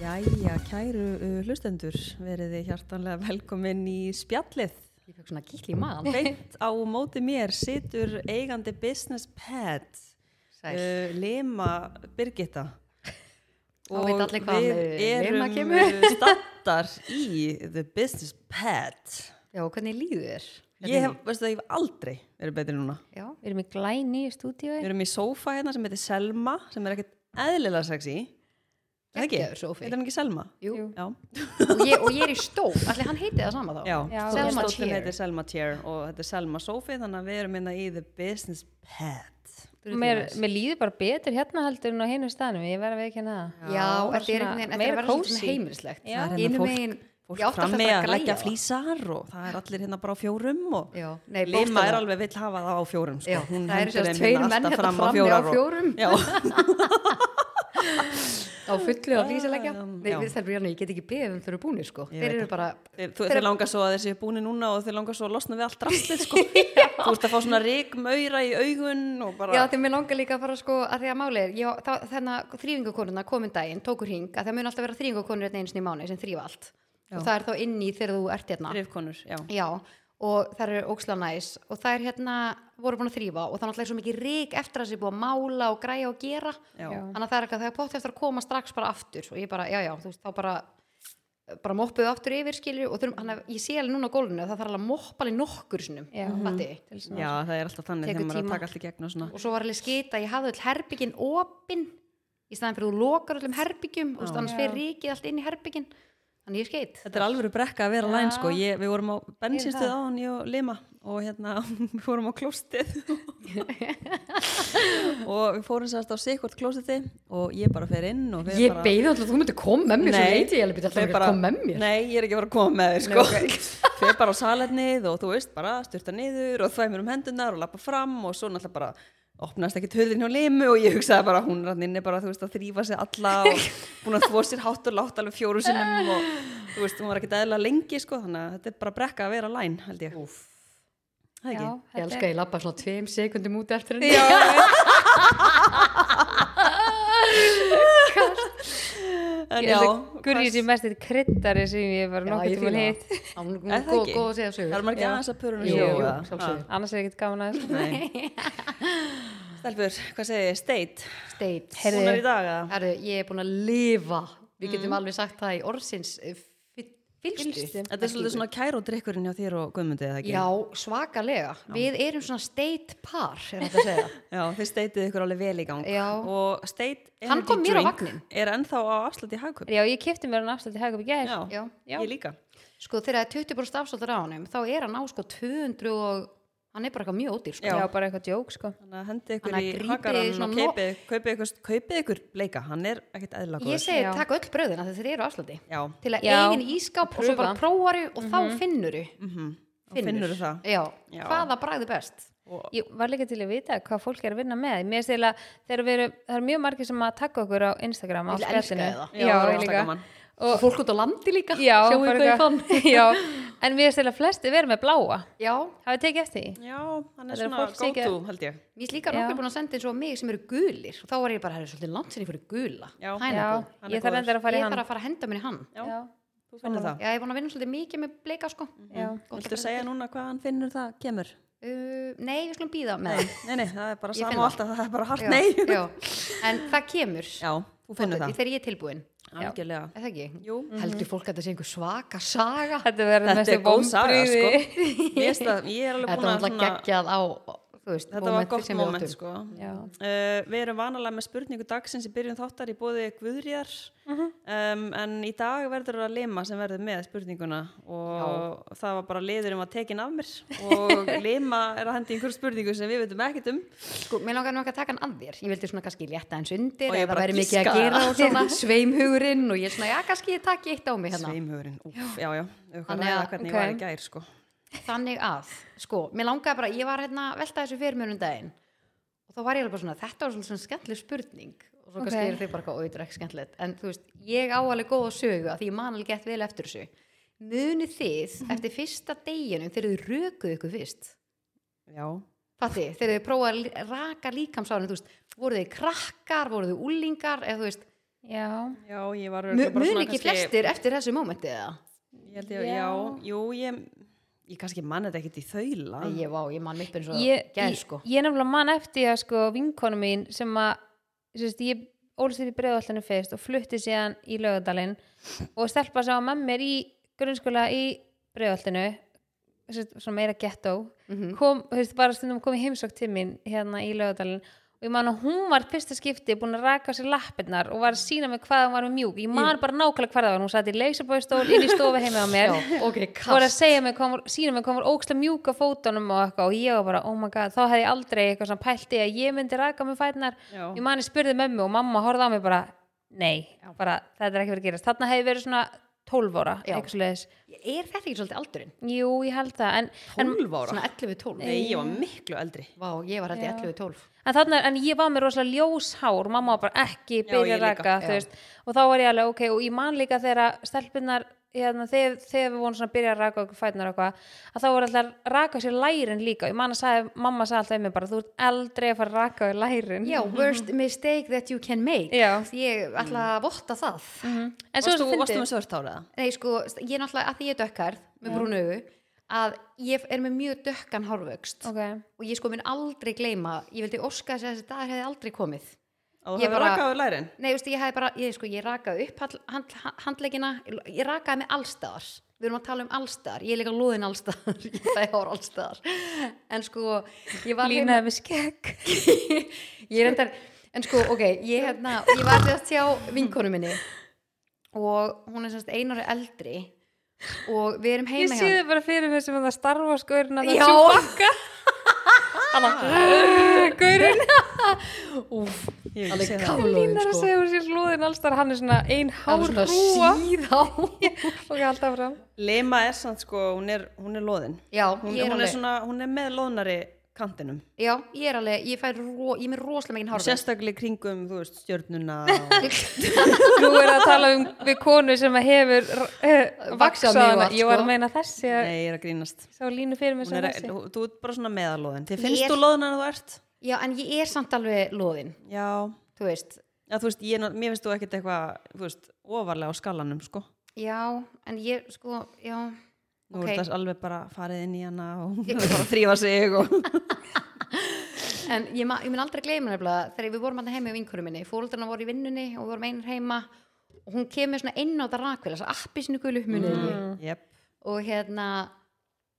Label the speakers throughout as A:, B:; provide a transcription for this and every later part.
A: Jæja, kæru uh, hlustendur, verið þið hjartanlega velkomin í spjallið.
B: Ég fekk svona kýll í maðan.
A: Beint á móti mér situr eigandi business pad, uh, Lema Birgitta.
B: Þá vita allir hvaðan, uh, Lema
A: erum
B: kemur.
A: uh, staddar í the business pad.
B: Já, og hvernig líður þér?
A: Ég hef, veistu það, ég hef aldrei verið betri núna.
B: Já,
C: Við erum í glæni í stúdíu.
A: Við erum í sófa hérna sem heitir Selma, sem er ekkert eðlilega sexy. Er það ekki?
B: Geggjaður sófi.
A: Heitir hann ekki Selma?
B: jú.
A: Já.
B: og, ég, og ég er í stól. Allir hann heiti það sama þá.
A: Já,
C: Já,
A: Selma
B: Selma
A: Chair
B: Chair.
A: heitir Selma Chair og þetta er Selma Sofi þannig að við erum inna í The Business Pad
C: Mér, mér líður bara betur hérna heldur en á hinu staðnum. Ég verð að veikja það.
B: Já,
C: bara
B: þetta er
C: svona
B: einhvern veginn, þetta er
C: meira
B: að vera svolítið
C: kósí.
B: svona heimilislegt.
A: Það
C: Já.
A: er hérna
B: Innum
A: fólk-
B: megin, ég
A: fólk
B: átti alltaf
A: frammi
B: bara
A: að
B: græja
A: leggja
B: það.
A: flísar og það er allir hérna bara á fjórum og
B: Já, nei,
A: Lima er
B: bókstaflega.
A: alveg vill hafa það á fjórum sko.
B: Já,
A: hún
B: það eru
A: hendur
B: sem sagt
A: þeim
B: tveir
A: hérna
B: menn
A: alltaf
B: hérna
A: fram á
B: frammi á
A: fjórar og-
B: fjórum.
A: Já,
B: Á fullu og flísalegja.
A: Já.
B: Nei, við stelpur Jónu, ég get ekki beðið um þau eru búinir sko.
A: Ég
B: Þeir
A: veit
B: eru bara,
A: Þeir- þú- þeir langar svo að þeir séu búni núna og þeir langar svo að losna við allt rastið sko. þú ert að fá svona rikmaura í augun og bara
B: já þegar mér langar líka að fara sko að því að máli er, ég- þá- þannig að þrýfingakonuna komin um daginn, tókur hing, að það mun alltaf vera þrýfingakonur einu sinni í mánu sem þrýfa allt. Og það er þá inn í þegar þú ert hérna.
A: drifkonur já.
B: Já, og það eru óksla næs og það er hérna, voru búin að þrýfa og þannig er svo mikið rík eftir að sé búið að mála og græja og gera
A: Já.
B: þannig að það er eitthvað, það er pott eftir að koma strax bara aftur og ég bara, já, já, þú veist, þá bara bara moppuðu aftur yfir skilju og þurfum, hann, ég sé alveg núna á gólfinu að það þarf alveg að moppa alveg nokkur sinnum
C: Já.
B: fatti.
C: Til svona-
A: já, það er alltaf þannig
B: Tekur
A: þegar maður er að
B: tíma.
A: taka allt í gegn og svona
B: og svo var alveg skita, ég hafði öll herbyggin opin í staðan fyrir þú lokar öllum herbyggjum og annars
C: Já.
B: fer ríkið allt inn í herbyggin þannig ég skeitt
A: Þetta er alvöru brekka að vera læn sko, ég, við vorum á bensinstöð
C: það.
A: á hann, ég og Lima og hérna, við vorum á klóstið og við fórum sérst á sikkort klóstiði og ég bara fer inn og við bara
B: beigði alltaf að þú myndir koma með
A: þau bara- Nei, ég er ekki að fara að koma með þér sko Þau bara á salernnið og þú veist bara styrta niður og þvæmur um hendunar og lappa fram og svo náttúrulega bara opnaðist ekki töðin hjá limu og ég hugsaði bara hún rann inni bara þú veist að þrýfa sig alla og búin að þvó sér hátt og látt alveg fjóru sinnum og þú veist hún var ekki eðla lengi sko þannig að þetta er bara brekka að vera læn held ég Úf. Það ekki?
B: Ég
C: Já, þetta
B: elska að ég lappa svona tveim sekundum út eftir henni.
A: Já, en
C: er-
A: já,
C: Gurri
A: hvað-
C: sem mest eitt kryddari sem ég var nokkuð tíma hitt.
B: Hún
A: Er það
B: er Mm, góð
A: ekki?
B: góð að segja sögur.
A: Það er maður ekki aðeins að pörun
B: Jú, jú,
A: sjálfsögur
B: sjálfsögðu.
C: Annars er ekkert gaman að þessu.
A: Nei. Stelfur, hvað segir ég? Steit?
B: State.
C: Heyrðu. Mm.
A: Hún er í dag að?
B: Herðu, ég er búin að lifa. Við getum alveg sagt það í orðsins eh, fyl- fylgstu.
C: Fylgstu.
A: Þetta er svolítið svona kæródrykkurinn hjá þér og Guðmundi, eða ekki?
B: Já, svakalega. Við erum svona state par, er þetta að segja.
A: Já, þið steitið ykkur alveg vel í gang.
B: Já.
A: Og steit
B: Hann kom mér á vagninn.
A: er ennþá á afsluti í hagkaup.
C: Já, ég kipti mér hann afslut í hagkjöp í gær.
A: Já.
B: Já.
C: Já.
A: Ég líka.
B: Sko þegar það er 20% afsáttur á honum, þá er hann á sko 200 og hann er bara eitthvað mjög ódýr, sko.
C: Já, bara eitthvað djók, sko.
A: Þannig að hendi ykkur í
B: Þannig að grípið
A: hakarann og
B: svona no-
A: kaupið, kaupið, ykkur, kaupið ykkur bleika. Hann er ekkert eðlagur.
B: Ég segi,
C: Já.
B: taka öll bröðina þegar þeir eru afsluti.
A: Já.
B: Til að
C: Já. Mhm.
B: eigin ískáp og svo bara prófaru og þá finnuru.
A: Mhm. Og finnur það.
B: Já,
A: Já.
B: hvaða bragði best?
C: Ég var líka til að vita hvað fólk er að vinna með. Mér finnst eiginlega, þegar við erum, það er mjög margir sem að taka okkur á Instagram á
B: Ég elska
C: spjallinu.
A: Já,
B: það.
C: Já,
A: það er
C: ég
A: ógeðslega
C: líka.
A: gaman.
B: og fólk út á landi líka
C: Já,
B: sjáu
C: bara
B: hvað ég fann
C: eitthvað- Já, en mér finnst eiginlega flesti verið með bláa.
B: já,
C: Hafið tekið eftir því?
A: Já, hann er
C: Það er
A: svona
C: fólk sem ekki-
A: go-to, held ég.
B: mér er líka
C: Já.
B: nokkur búin að senda eins og mig sem eru gulir og þá var ég bara, það er svolítið langt sinni fyrir gula
A: Já.
B: Pineapple.
C: Já,
A: hann er
C: ég þarf
A: góður.
C: endur að fara í
B: ég
C: hann.
B: þarf að fara að henda mér í hann
A: Já.
C: Já,
A: Þú finnur það.
B: já, ég er búin að vinna svolítið mikið með bleika sko
C: já.
B: Gott að
A: Viltu segja núna hvað hann finnur það kemur?
B: uh, nei, við skulum býða með það
A: Nei, nei, það er bara
B: Ég
A: sama
B: finn
A: og
B: það.
A: alltaf, það er bara hart
B: Já,
A: nei.
B: já. en það kemur
A: Já, þú finnur það.
B: þegar ég er tilbúin,
A: Algjörlega.
B: er það ekki?
A: Jú.
B: heldur fólk að það sé einhver svaka saga
C: Þetta verður
A: Þetta
C: mestu
A: er góð saga, sko.
C: vombriði.
A: Mér finnst það- Ég er alveg
B: þetta
A: búin að
B: var alltaf
A: svona,
B: geggjað á þú veist,
A: þetta var
B: momentið
A: gott
B: sem við
A: moment,
B: áttum.
A: sko.
C: Já.
A: Uh, við erum vanalega með spurningu dagsins í byrjun þáttar í bóði Guðrýjar,
B: Mhm.
A: um, en í dag verður það Lema sem verður með spurninguna og það var bara liðurum að tekin af mér og Lema er að hendi einhver spurningu sem við veitum ekkert um.
B: Sko, mér langar nú ekki að taka hann að þér. Ég vildi svona kannski létta hans undir
A: Og ég
B: eða
A: bara
B: það væri mikið að
A: giskaði
B: gera og svona sveimhugurinn og ég svona, já, kannski ég takk eitt á mig hérna.
A: Sveimhugurinn, úf, já, já, við höfum að
B: Þannig að-
A: ræða hvernig ég
C: ok.
A: var í gær, sko.
B: Þannig að, sko, mér langaði bara, ég var hérna að velta þessu fyrir mér um daginn og þá var ég alveg bara svona, þetta var svona, svona skemmtileg spurning og svo kannski
C: Ok.
B: eru þau bara eitthvað auðvitað ekki skemmtilegt en þú veist, ég á alveg góða sögu að því ég man alveg gett vel eftir þessu. Munið þið
A: Mhm.
B: eftir fyrsta deginum þegar þið rökuðu ykkur fyrst?
A: Já,
B: Patti, þegar þið prófaði að lí- raka líkamsárin, þú veist, voru þið krakkar, voru þið úlingar, eða þú veist,
A: sko.
C: já,
A: Já, ég var
B: Mu-
A: örugglega bara
B: Mun
A: svona
B: ekki
A: kannski-
B: flestir eftir þessu mómenti eða?
A: Ég held ég,
C: Já.
A: já, jú, ég, ég kannski mann þetta ekkit í þaula.
B: Nei, Ég, vá, ég man mitt eins og
C: ég,
B: gæð sko
C: ég, ég nefnilega man eftir því að sko vinkonu mín sem að sem sagt, ég ólst upp í breiðvallinu fyrst og flutti síðan í laugadalinn og stelpa sem var með mér í grunnskóla í breiðvallinu svona meira ghetto
B: Mhm.
C: kom, þú veist, bara stundum kom í heimsók til mín hérna í laugadalinn og ég man að hún var fyrsta skipti búin að raka á sér lappirnar og var að sína mig hvað hún var með mjúk ég man bara nákvæmlega hvað það var, hún satt í leysabóðstól inn í stofu heima á mér
B: Ok,
C: voru að
B: kast
C: segja mig, kom, sína mig hvað hún var ókslega mjúk á fótunum og eitthvað og ég var bara, oh my god, þá hefði ég aldrei eitthvað svona pælti að ég myndi raka með fætnar
A: Já.
C: ég mani spurði mömmu og mamma horfði á mig bara, nei, bara þetta er ekki verið að gerast þarna hefði ég verið svona 12 ára
B: Já.
C: eitthvað svoleiðis.
B: Er þetta ekki svolítið aldurinn?
C: jú, ég held það en, en,
A: 12 ára?
B: Svona 11-12
A: Nei, ég var miklu eldri.
B: Vá, ég var þetta 11-12
C: en, þarna, en ég var með rosalega ljóshár mamma var bara ekki
A: Já, ég
C: byrja að
A: líka.
C: raka þú
B: Já.
C: veist, og þá var ég alveg ok og ég man líka þegar stelpunnar hérna, þegar, þegar við vorum svona að byrja að raka okkur fætnar og eitthvað, að þá voru alltaf að raka sér lærin líka, ég man að sagði, mamma sagði alltaf um mig bara, þú ert aldrei að fara að raka þér lærin
B: Já, worst mistake that you can make
C: Já.
B: Ég ætla að votta það
C: en svo
A: Varstu,
C: er
A: varstu
C: þetta
A: með svört ára?
B: Nei, sko, ég er náttúrulega að því ég er dökkar með brún augu að ég er með mjög dökkan hárvöxt
C: fyndið
B: og ég sko minn aldrei gleyma ég vildi óska þess að þessi dagar hefði aldrei komið
A: Að þú
B: Ég
A: hefði
B: bara-
A: rakaður lærin?
B: Nei, veistu, ég hafði bara, ég, sko, ég rakaði upp hand, hand, handleggina, ég rakaði mig allstaðar. Við erum að tala um allstaðar, ég er líka lúðin allstaðar, ég fæði hár allstaðar. En sko, ég var
C: línaði með skegg
B: heima, ég er endar, en sko, ok, ég, hérna, ég var til að tjá vinkonu minni og hún er semst einari eldri og við erum
C: ég
B: heima
C: sé þið bara fyrir mér sem að það starfa skoðurinn að
B: Já.
C: það tjúbakka Gaurinn
B: Úf,
A: Ah, Ég
B: alveg
A: sé það.
B: kálóðin,
C: línar að
B: sko.
C: segja hún sér hlúðin alls þar hann er svona ein hár
B: Alveg
C: hrúa
B: svona síðá.
C: og ég halda fram
A: Lema er samt sko, hún er, hún er loðin.
B: Já,
A: Hún,
B: ég er
A: hún, er
B: alveg,
A: svona, hún er með loðnari kantinum.
B: já, ég er alveg, ég fæ, ro, ég er með rosalega megin hárvöxt.
A: Sérstaklega í kringum, þú veist, stjörnuna. og-
C: nú er að tala um við konu sem að hefur uh,
B: Vaxið
C: vaksað
B: mjög
C: hana
B: oft,
C: ég
B: sko.
C: var að meina þessi að
A: Nei, ég er að grínast.
C: sá línu fyrir mér
A: Hún
C: sem
A: Er, e-
C: þessi
A: þú ert bara svona meðalóðin. Þið
B: Ég
A: finnst
B: er-
A: þú loðin en þú ert?
B: Já, en ég er samt alveg loðin,
A: Já.
B: þú veist.
A: Já, þú veist, ég, er ná- mér finnst þú ekkert eitthvað, þú veist, ofarlega á skalanum, sko.
B: Já, en ég, sko, já,
A: Nú
B: Ok.
A: okay. er þetta alveg bara farið inn í hana og hún er bara að þrýfa sig og...
B: en ég, ma- ég mun aldrei gleyma nefnilega þegar við vorum alltaf heima í vinkurum minni, fóröldarna voru í vinnunni og við vorum einir heima og hún kemur svona inn á þetta rakvél, þess að appi sinu gulu munið mm.
A: Jep.
B: og hérna,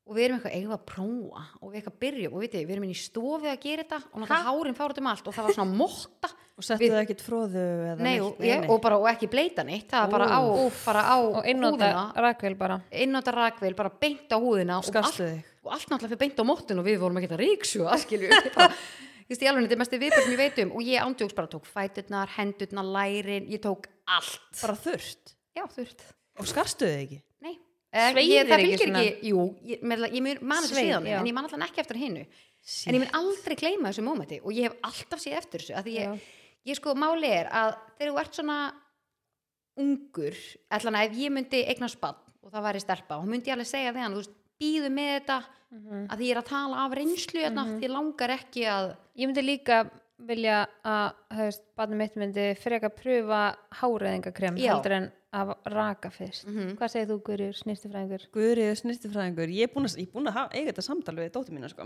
B: og við erum eitthvað eigum við að prófa og við eitthvað byrjum og veitir, við erum inn í stofi að gera þetta og náttúrulega hárin fára um allt og það var svona motta
A: Og settu
B: Við-
A: það ekkert fróðu eða
B: nei,
A: neitt,
B: og, ég, og bara og ekki bleita neitt, það var bara á, bara á
C: og innóta
B: húðina,
C: rakvél bara
B: innóta rakvél, bara beint á húðina og allt
A: Skarstu þig.
B: og allt náttúrulega fyrir beint á móttun og við vorum ekki að ríksu aðskilju Vist, ég alveg, þetta er mesti viðbjörn ég veit um og ég ándjóks bara tók fæturnar, hendurnar, lærin ég tók allt
A: Bara þurft.
B: já, þurft,
A: Og skarstu þig ekki.
B: nei Eh,
C: Sveigir
B: ég, það
C: ekki
B: fylgir
C: svona?
B: ekki, jú, ég, með, ég mun man þetta
C: Sveig,
B: síðan,
C: já.
B: en ég man allan ekki eftir hinnu en ég mun aldrei gleyma þessu mómenti og ég hef alltaf séð eftir þessu að ég, ég sko, máli er að þegar þú ert svona ungur, allan að ef ég myndi eigna spann og það væri stelpa, hún myndi ég alveg segja við hann, þú veist, býðu með þetta að því ég er að tala af reynslu mm
A: Mhm.
B: -hmm. því langar ekki að
C: Ég myndi líka vilja að höfst, barnum mitt myndi freka að pröfa háreðingakrem
B: Já. Mhm.
C: heldur en að raka fyrst.
A: Mhm.
C: Hvað segir þú, Guðrjur, snýstifræðingur?
A: Guðrið snirtifræðingur, ég er búin að, ég er búin að ha- eiga þetta samtal við dóttir mína sko.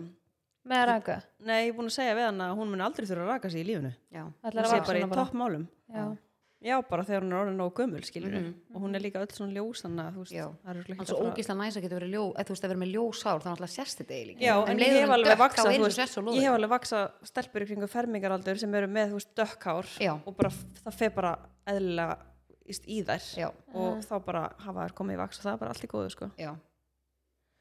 C: Með að raka?
A: Nei, ég er búin að segja við hann að hún mun aldrei þurfa að raka sig í lífinu.
B: já,
C: Ætlar
A: Hún
C: að
A: sé
C: vaxa
A: bara í
C: hana bara?
A: toppmálum.
C: Já.
A: Já, bara þegar hún er orðin nóg gömul, skiljur Og hún er líka öll svona ljós, þannig að þú veist,
B: Mhm. Já.
A: það er
B: alveg svo ógísla næs að geta verið ljó eða þú veist að vera með ljósár, þá er alltaf sérst þetta eiginlega
A: Já, en, ég hef alveg vaksað, þú
B: veist,
A: veist, ég hef alveg vaksað stelpur í kringu fermingaraldur sem eru með, þú veist, dökkhár
B: Já.
A: og bara, f- það fer bara eðlilega íst, í þær
B: já,
A: og þá bara hafa þær komið í vaks og það er bara allt í góðu, sko.
B: já,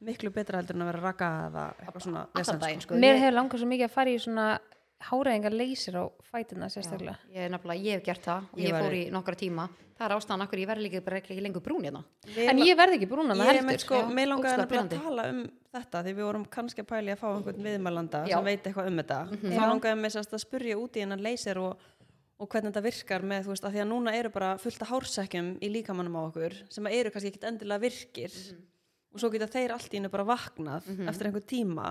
A: Miklu betra heldur en að vera raka eða eitthvað svona
B: allan
A: vesen,
B: daginn sko
C: Mér
B: Ég-
C: hefur langað svo mikið að fara í svona háreðingar leysir á fætina sérstaklega.
B: Já, ég, er nefnilega, ég hef gert það og
A: Ég
B: ég,
A: var-
B: fór í nokkra tíma það er ástæðan akkur ég verði líka bara ekki lengur brún hérna
A: Við
C: En ég verð ekki brúnan að
A: Ég er
C: heldur.
A: með sko,
B: já,
A: mig langaði nefnilega
B: ógeðslega
A: að
B: pirrandi.
A: tala um þetta því við vorum kannski að pæli að fá einhvern viðmælanda
B: Já. Mhm.
A: sem veit eitthvað um þetta þá langaði mig sérst að spurja út í hennan leysir og, og hvernig þetta virkar með þú veist að því að núna eru bara fullt af hársekkjum í líkamannum á okkur sem að eru kannski ekkit endilega virkir
B: Mhm.
A: og svo geta þeir allt í hennu bara vaknað eftir einhver
B: Mhm.
A: tíma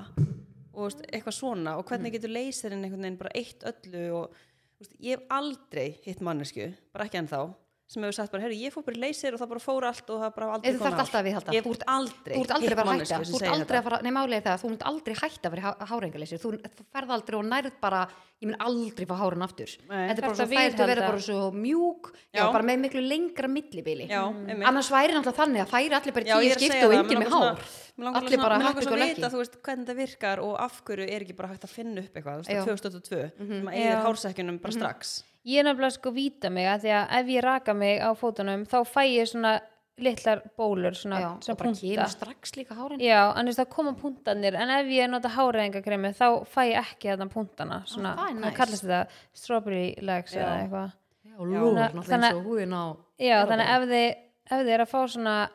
A: og þú veist, eitthvað svona og hvernig getur leysirinn einhvern veginn bara eitt öllu og Vist, ég hef aldrei hitt mannesku, bara ekki ennþá sem hefur sagt bara, heyrðu, ég fór bara í leysir og það bara fór allt og það bara aldrei
B: Nei, þú þarft
A: á.
B: alltaf að viðhalda.
A: Ég hef
B: Þú ert-
A: aldrei,
B: þú ert aldrei að
A: hitt
B: fara að
A: mannesku
B: hætta
A: sem
B: þú ert
A: segir
B: aldrei
A: þetta.
B: að fara, nei málið er það að þú munt aldrei hætta að vera hárengalysir, þú, þú ferð aldrei og nærð bara, ég mun aldrei fá hárun aftur
A: Nei.
B: þetta er bara
C: Þarftu
B: svo
C: að
B: fært að vera
C: viðhalda.
B: bara svo mjúk já,
A: Já.
B: bara með miklu lengra millibili
A: Já, einmitt.
B: annars væri náttúrulega þannig að færi allir bara
A: Já, ég
B: í tíu
A: er að segja
B: skipti og
A: það,
B: enginn
A: mig
B: með
A: langar
B: hár
A: svona- mig langar
B: allir
A: svona-
B: bara
A: mig langar svona
B: happy sko
A: að
B: lucky
A: vita þú veist, hvernig þetta virkar og af hverju er ekki bara hægt að finna upp eitthvað, þú
B: Já. Mhm.
A: veist, 2002 mm -hmm. maður
C: Já.
A: eðir hársekjunum bara strax
C: Ég er nefnilega sko víta mig að því að ef ég raka mig á fótunum þá fæ ég svona litlar bólur svona,
B: já,
C: svona
B: og bara
C: punta.
B: kemur strax líka hárin
C: Já, annars það koma puntanir en ef ég nota háræðingakremi þá fæ ég ekki þarna puntana svona,
B: Ah, það er
C: hvað
B: nice.
C: kallast þetta? Strawberry legs eða
A: Já.
C: eitthvað
B: og lúr,
C: Þannig-
B: náttúrulega eins og húðin á
C: Já, þannig ef þið, ef þið er að fá svona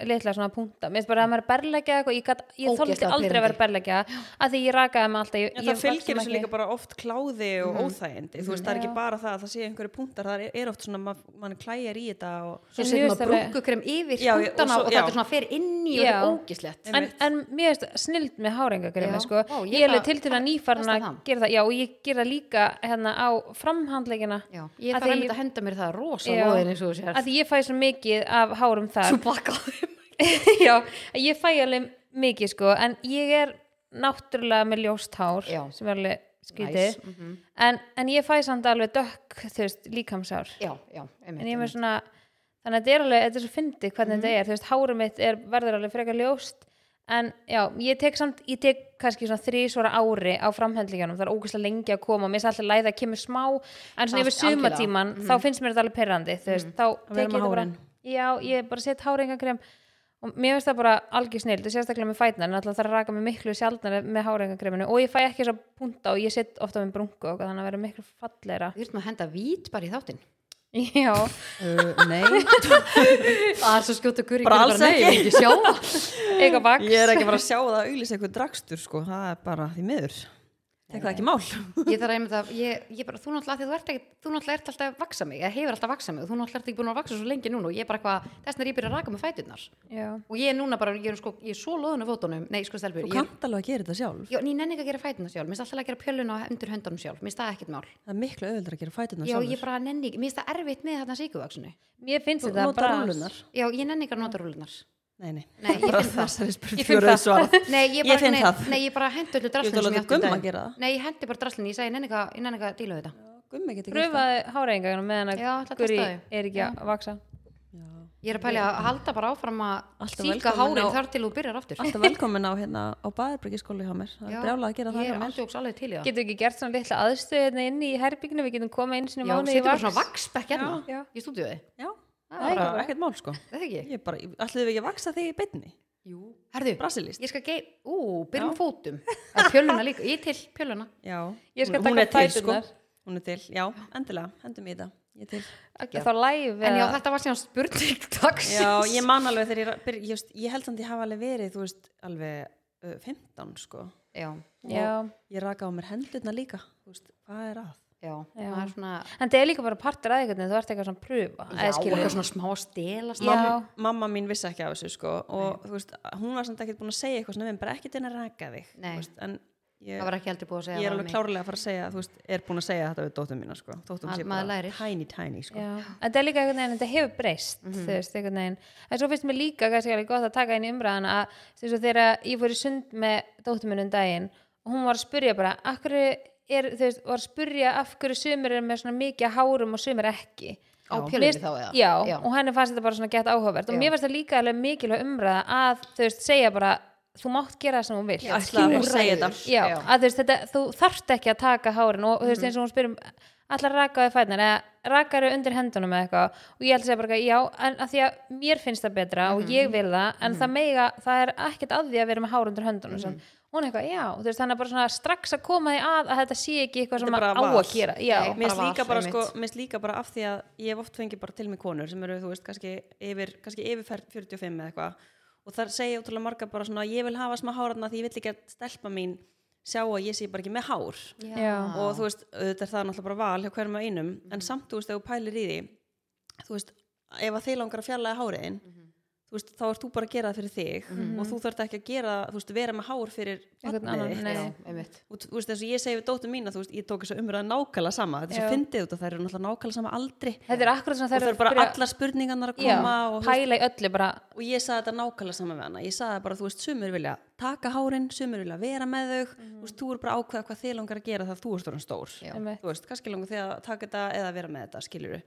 C: litla svona punta, mér finnst bara að maður er berleggja eitthvað, ég, gat, ég þóldi
B: Ógeðslega
C: aldrei að vera berleggja að því ég rakaði mig alltaf ég,
A: En
C: ég
A: það fylgir
C: vakti
A: þessu
C: mig
A: líka bara oft kláði og
B: Mhm.
A: óþægindi, þú veist, það er ekki bara það að það sé einhverju punktar, það er, er oft svona, ma- mann klæjar í þetta og
B: svo
C: En
B: setur
C: mér finnst
B: maður
C: alveg-
B: brúkukrem
A: Já,
B: yfir
A: ég- og
B: skuttana
A: svo-
B: og
A: já.
B: þetta svona fer inn í og
C: Já.
B: þetta er ógislegt
C: en, en mér finnst snild með hárengagremi
B: Já.
C: sko.
B: Vá, ég
C: ég er alveg
B: það-
C: til til að
B: það-
C: nýfarna
B: það er það.
C: gera það, já og ég gera líka hérna á framhandleikina
B: Já, ég
C: Af
B: þarf
C: því
B: einmitt að henda mér það rosa
C: Já.
B: lóðin eins og þú sér
C: að því ég fæ svo mikið af hárum þar
B: svo baka á þeim
C: já, ég fæ alveg mikið sko en ég er náttúrulega með ljóst hár
B: Já.
C: sem er alveg skrítið
B: Næs, mhm.
C: en, en ég fæ samt alveg dökk þú veist, líkamsár
B: já, já, einmitt,
C: en ég er
B: einmitt.
C: með svona þannig að þetta er alveg, þetta er svo fyndið hvernig
A: Mhm.
C: þetta er þú veist, hárum mitt er, verður alveg frekar ljóst en já, ég tek samt ég tek kannski svona þrísvara ári á framhendlingunum, það er ógeðslega lengi að koma mér er alltaf læða að kemur smá en svona
B: Það
C: yfir
B: er algjörlega.
C: sumatíman, þá finnst mér þetta alveg perrandi þú veist, þá
A: Mhm. Að
C: tek
A: vera
C: ég
A: með
C: þetta bara
A: hárin.
C: já, ég bara set hárengakrem og mér finnst það bara algjör snill, þú sérstaklega með fætnar en alltaf það er að raka mig miklu sjaldnar með hárengakreminu og ég fæ ekki svo punta og ég set ofta með brungu og eitthvað, þannig að vera miklu falleira
B: Við erum að henda vít bara í þáttinn.
C: já,
A: uh, nei,
B: Það er svo skjóta guri,
A: Bara
B: ég
A: alls
B: bara, nei, ég vil ekki sjá það.
C: eitthvað vaks
A: ég er ekki bara að sjá það að auglýsa eitthvað drakstur, sko, það er bara því miður, tek það ekki mál
B: Ég þarf einmitt að, ég, ég bara, þú náttúrulega, af því þú ert, ekki, þú náttúrulega ert alltaf að vaksa mig, eða hefur alltaf að vaksa mig, og þú náttúrulega ert ekki búin að vaksa svo lengi núna og ég er bara eitthvað, þess vegna er ég byrja að raka með fæturnar.
C: já.
B: Og ég er núna bara, ég er, sko, ég er svo loðun af fótunum, nei, sko, stelpur,
A: þú
B: ég, er-
A: kannt alveg að gera þetta sjálf
B: já, en ég nenni ekki að gera fæturnar sjálf, minnst alltaf að gera pjölun og undir höndunum sjálf, minnst það ekkert mál.
A: það er miklu auðvöldar að gera fætuna
B: Já, ég
A: sjálf
B: bara nenni ekki, minnst það erfitt með þarna síkuvaksinu.
C: Mér finnst
A: þú
C: þetta
A: nota
C: bras.
A: rúlunar
B: Já, ég nenni ekki að nota rúlunar.
A: nei, nei,
B: Nei, ég
A: bara
B: finn það.
A: þessari
C: Ég
A: spurning
C: finn
A: voru
C: það.
A: svarað.
B: Nei, ég,
A: Ég
B: bara,
A: finn
B: nei,
A: það.
B: nei, ég bara hendur öllu
A: Ég
B: draslinu
A: ætla að
B: sem
A: láta
B: ég átti í
A: gumma
B: dag.
A: gera það.
B: Nei, ég hendi bara draslinu, ég sagði, ég nenni ekki að- ég nenni ekki að díla við þetta.
A: Gummi getur gert það.
C: Pröfaði háræðingarinn meðan
B: Já, ætla
C: að
B: að
C: guri
B: testa þau.
C: er ekki að vaksa
A: Já.
B: Ég er að pæli að halda bara áfram að
A: Alltaf
B: síka
A: velkomin
B: hárin
A: á-
B: þar til þú byrjar aftur.
A: alltaf velkomin á hérna á baðarbyrgisskóli hjá mér, það
B: Já.
A: er brjálað að gera það
B: Ég
A: hjá
B: er
A: mér
B: andjóks alveg til í það.
C: Getur ekki gert svona litla aðstöð hérna inni í herbygginu, við getum komað einu sinni
B: Já,
C: í mánuði í
B: setur bara
C: vaks
B: svona vaksbekk
C: Já.
B: hérna í stúdíuði.
A: já,
B: Það
A: það
B: er
A: er
B: bara-
A: bara ekkert mál sko
B: Það ekki?
A: ég er bara, ætlum við ekki að vaksa þig í beinni
B: Jú. Herðu,
A: brasilist
B: ég skal gei... Ú, byrjum á fótum. Að Pjöluna líka. Ég er til pjöluna.
A: já,
C: Ég skal
A: hún-
C: taka
A: hún er til,
C: fæturnar.
A: sko hún er til, já, endilega, hendum í það ég er til
C: Þá læfi
B: En já, þetta var síðan spurning dagsins.
A: já, ég man alveg þegar ég, ra- byrj- ég, veist, ég held samt ég hafa alveg verið, þú veist, alveg uh, 15 sko
B: Já,
C: Já,
A: ég raka á mér hendurna líka, þú veist, hvað er að
B: já. Það er svona...
C: en það er líka bara partur að einhvern veginn, þú ert eitthvað svona að pröfa
B: Já,
C: eða skilur.
B: eitthvað svona smá að stelast.
C: Já,
A: mamma mín vissi ekki af þessu sko og þú veist, hún var samt ekkert búin að segja eitthvað svona, við bara ekkert inn að raka þig þú
B: Nei.
A: veist, en ég,
B: Það var ekki heldur búið að
A: ég er
B: segja það
A: alveg
B: við mig.
A: klárlega að fara að segja þú veist, er búin að segja þetta við dóttum mína sko. dóttum
B: Ma-
A: sé
B: maður
A: bara
B: lærir.
A: tiny tiny sko.
C: Já, en þetta er líka einhvern veginn, þetta hefur breyst
B: Mhm.
C: þú veist, einhvern veginn, en svo finnst mér líka kannski alveg gott að taka inn í umræðan að þú veist, og þegar ég fór í sund með dóttur minn um daginn og hún var að spurja bara af hverju er, þú veist, var að spurja af hverju sumir er með svona mikið af hárum og sumir ekki
B: Á
A: Já.
B: pjölunni þá eða?
C: já, og henni fannst þetta bara svona gett áhugavert
B: Já.
C: og mér fannst það líka alveg mikilvæg umræða að þú veist, segja bara, þú mátt gera það sem hún vilt
A: Ég ætlaði að segja þetta.
C: já, að þú veist þetta, þú þarft ekki að taka hárin og þú veist eins og hún um, spyrum allar rakaðu fætnar eða rakaðu undir hendunum eða eitthvað og ég held að segja bara eitthvað, já, en að því að mér finnst það betra og ég vil það, en það mega það er ekkert að því að vera með hár undir höndunum mm hún er eitthvað, já, þú veist þannig að bara svona strax að koma því að að þetta sé ekki eitthvað sem
A: Þetta er
C: maður á
A: bara val.
C: að gera já,
B: Nei,
A: Mér finnst
B: bara
A: líka,
B: val,
A: bara,
B: einmitt.
A: sko, mér finnst líka bara af því að ég hef oft fengið bara til mig konur sem eru, þú veist, kannski yfir, kannski yfir fer- 45 eða eitthvað og þar segja ótrúlega marga bara svona ég vil hafa smá háratna því ég vill ekki að stelpa mín sjá að ég sé bara ekki með hár
C: Já.
A: og þú veist, þetta er það náttúrulega bara val hjá hverjum að einum, en samt þú veist, þegar þú pælir í því þú veist, ef að þið langar að fjarlæga háriðin þú veist, þá ert þú bara að gera það fyrir þig og þú þarft ekki að gera, þú veist, vera með hár fyrir
C: Einhvern
A: barnið
C: annan,
A: þitt.
C: nei.
B: Já, einmitt.
A: og þú veist, eins og ég segi við dóttum mína þú veist, ég tók þess að umræða nákvæmlega sama þetta er
C: Já.
A: svo fyndið út að það eru náttúrulega nákvæmlega sama aldri
C: þetta er akkurat svona
A: og það
C: þær
A: eru bara
C: byrja-
A: allar spurningarnar að
C: Já,
A: koma og, þú veist,
C: pæla í öllu bara
A: og ég saði þetta nákvæmlega sama með hana ég saði bara, þú veist, sumur vilja taka hárin sumur vilja vera með þau þú veist, þú er bara að ákveða hvað þið langar að gera það þú ert orðin stór
B: Mhm. Já.
C: Einmitt.
A: þú veist, kannski langar þið að taka þetta eða vera með þetta, skilur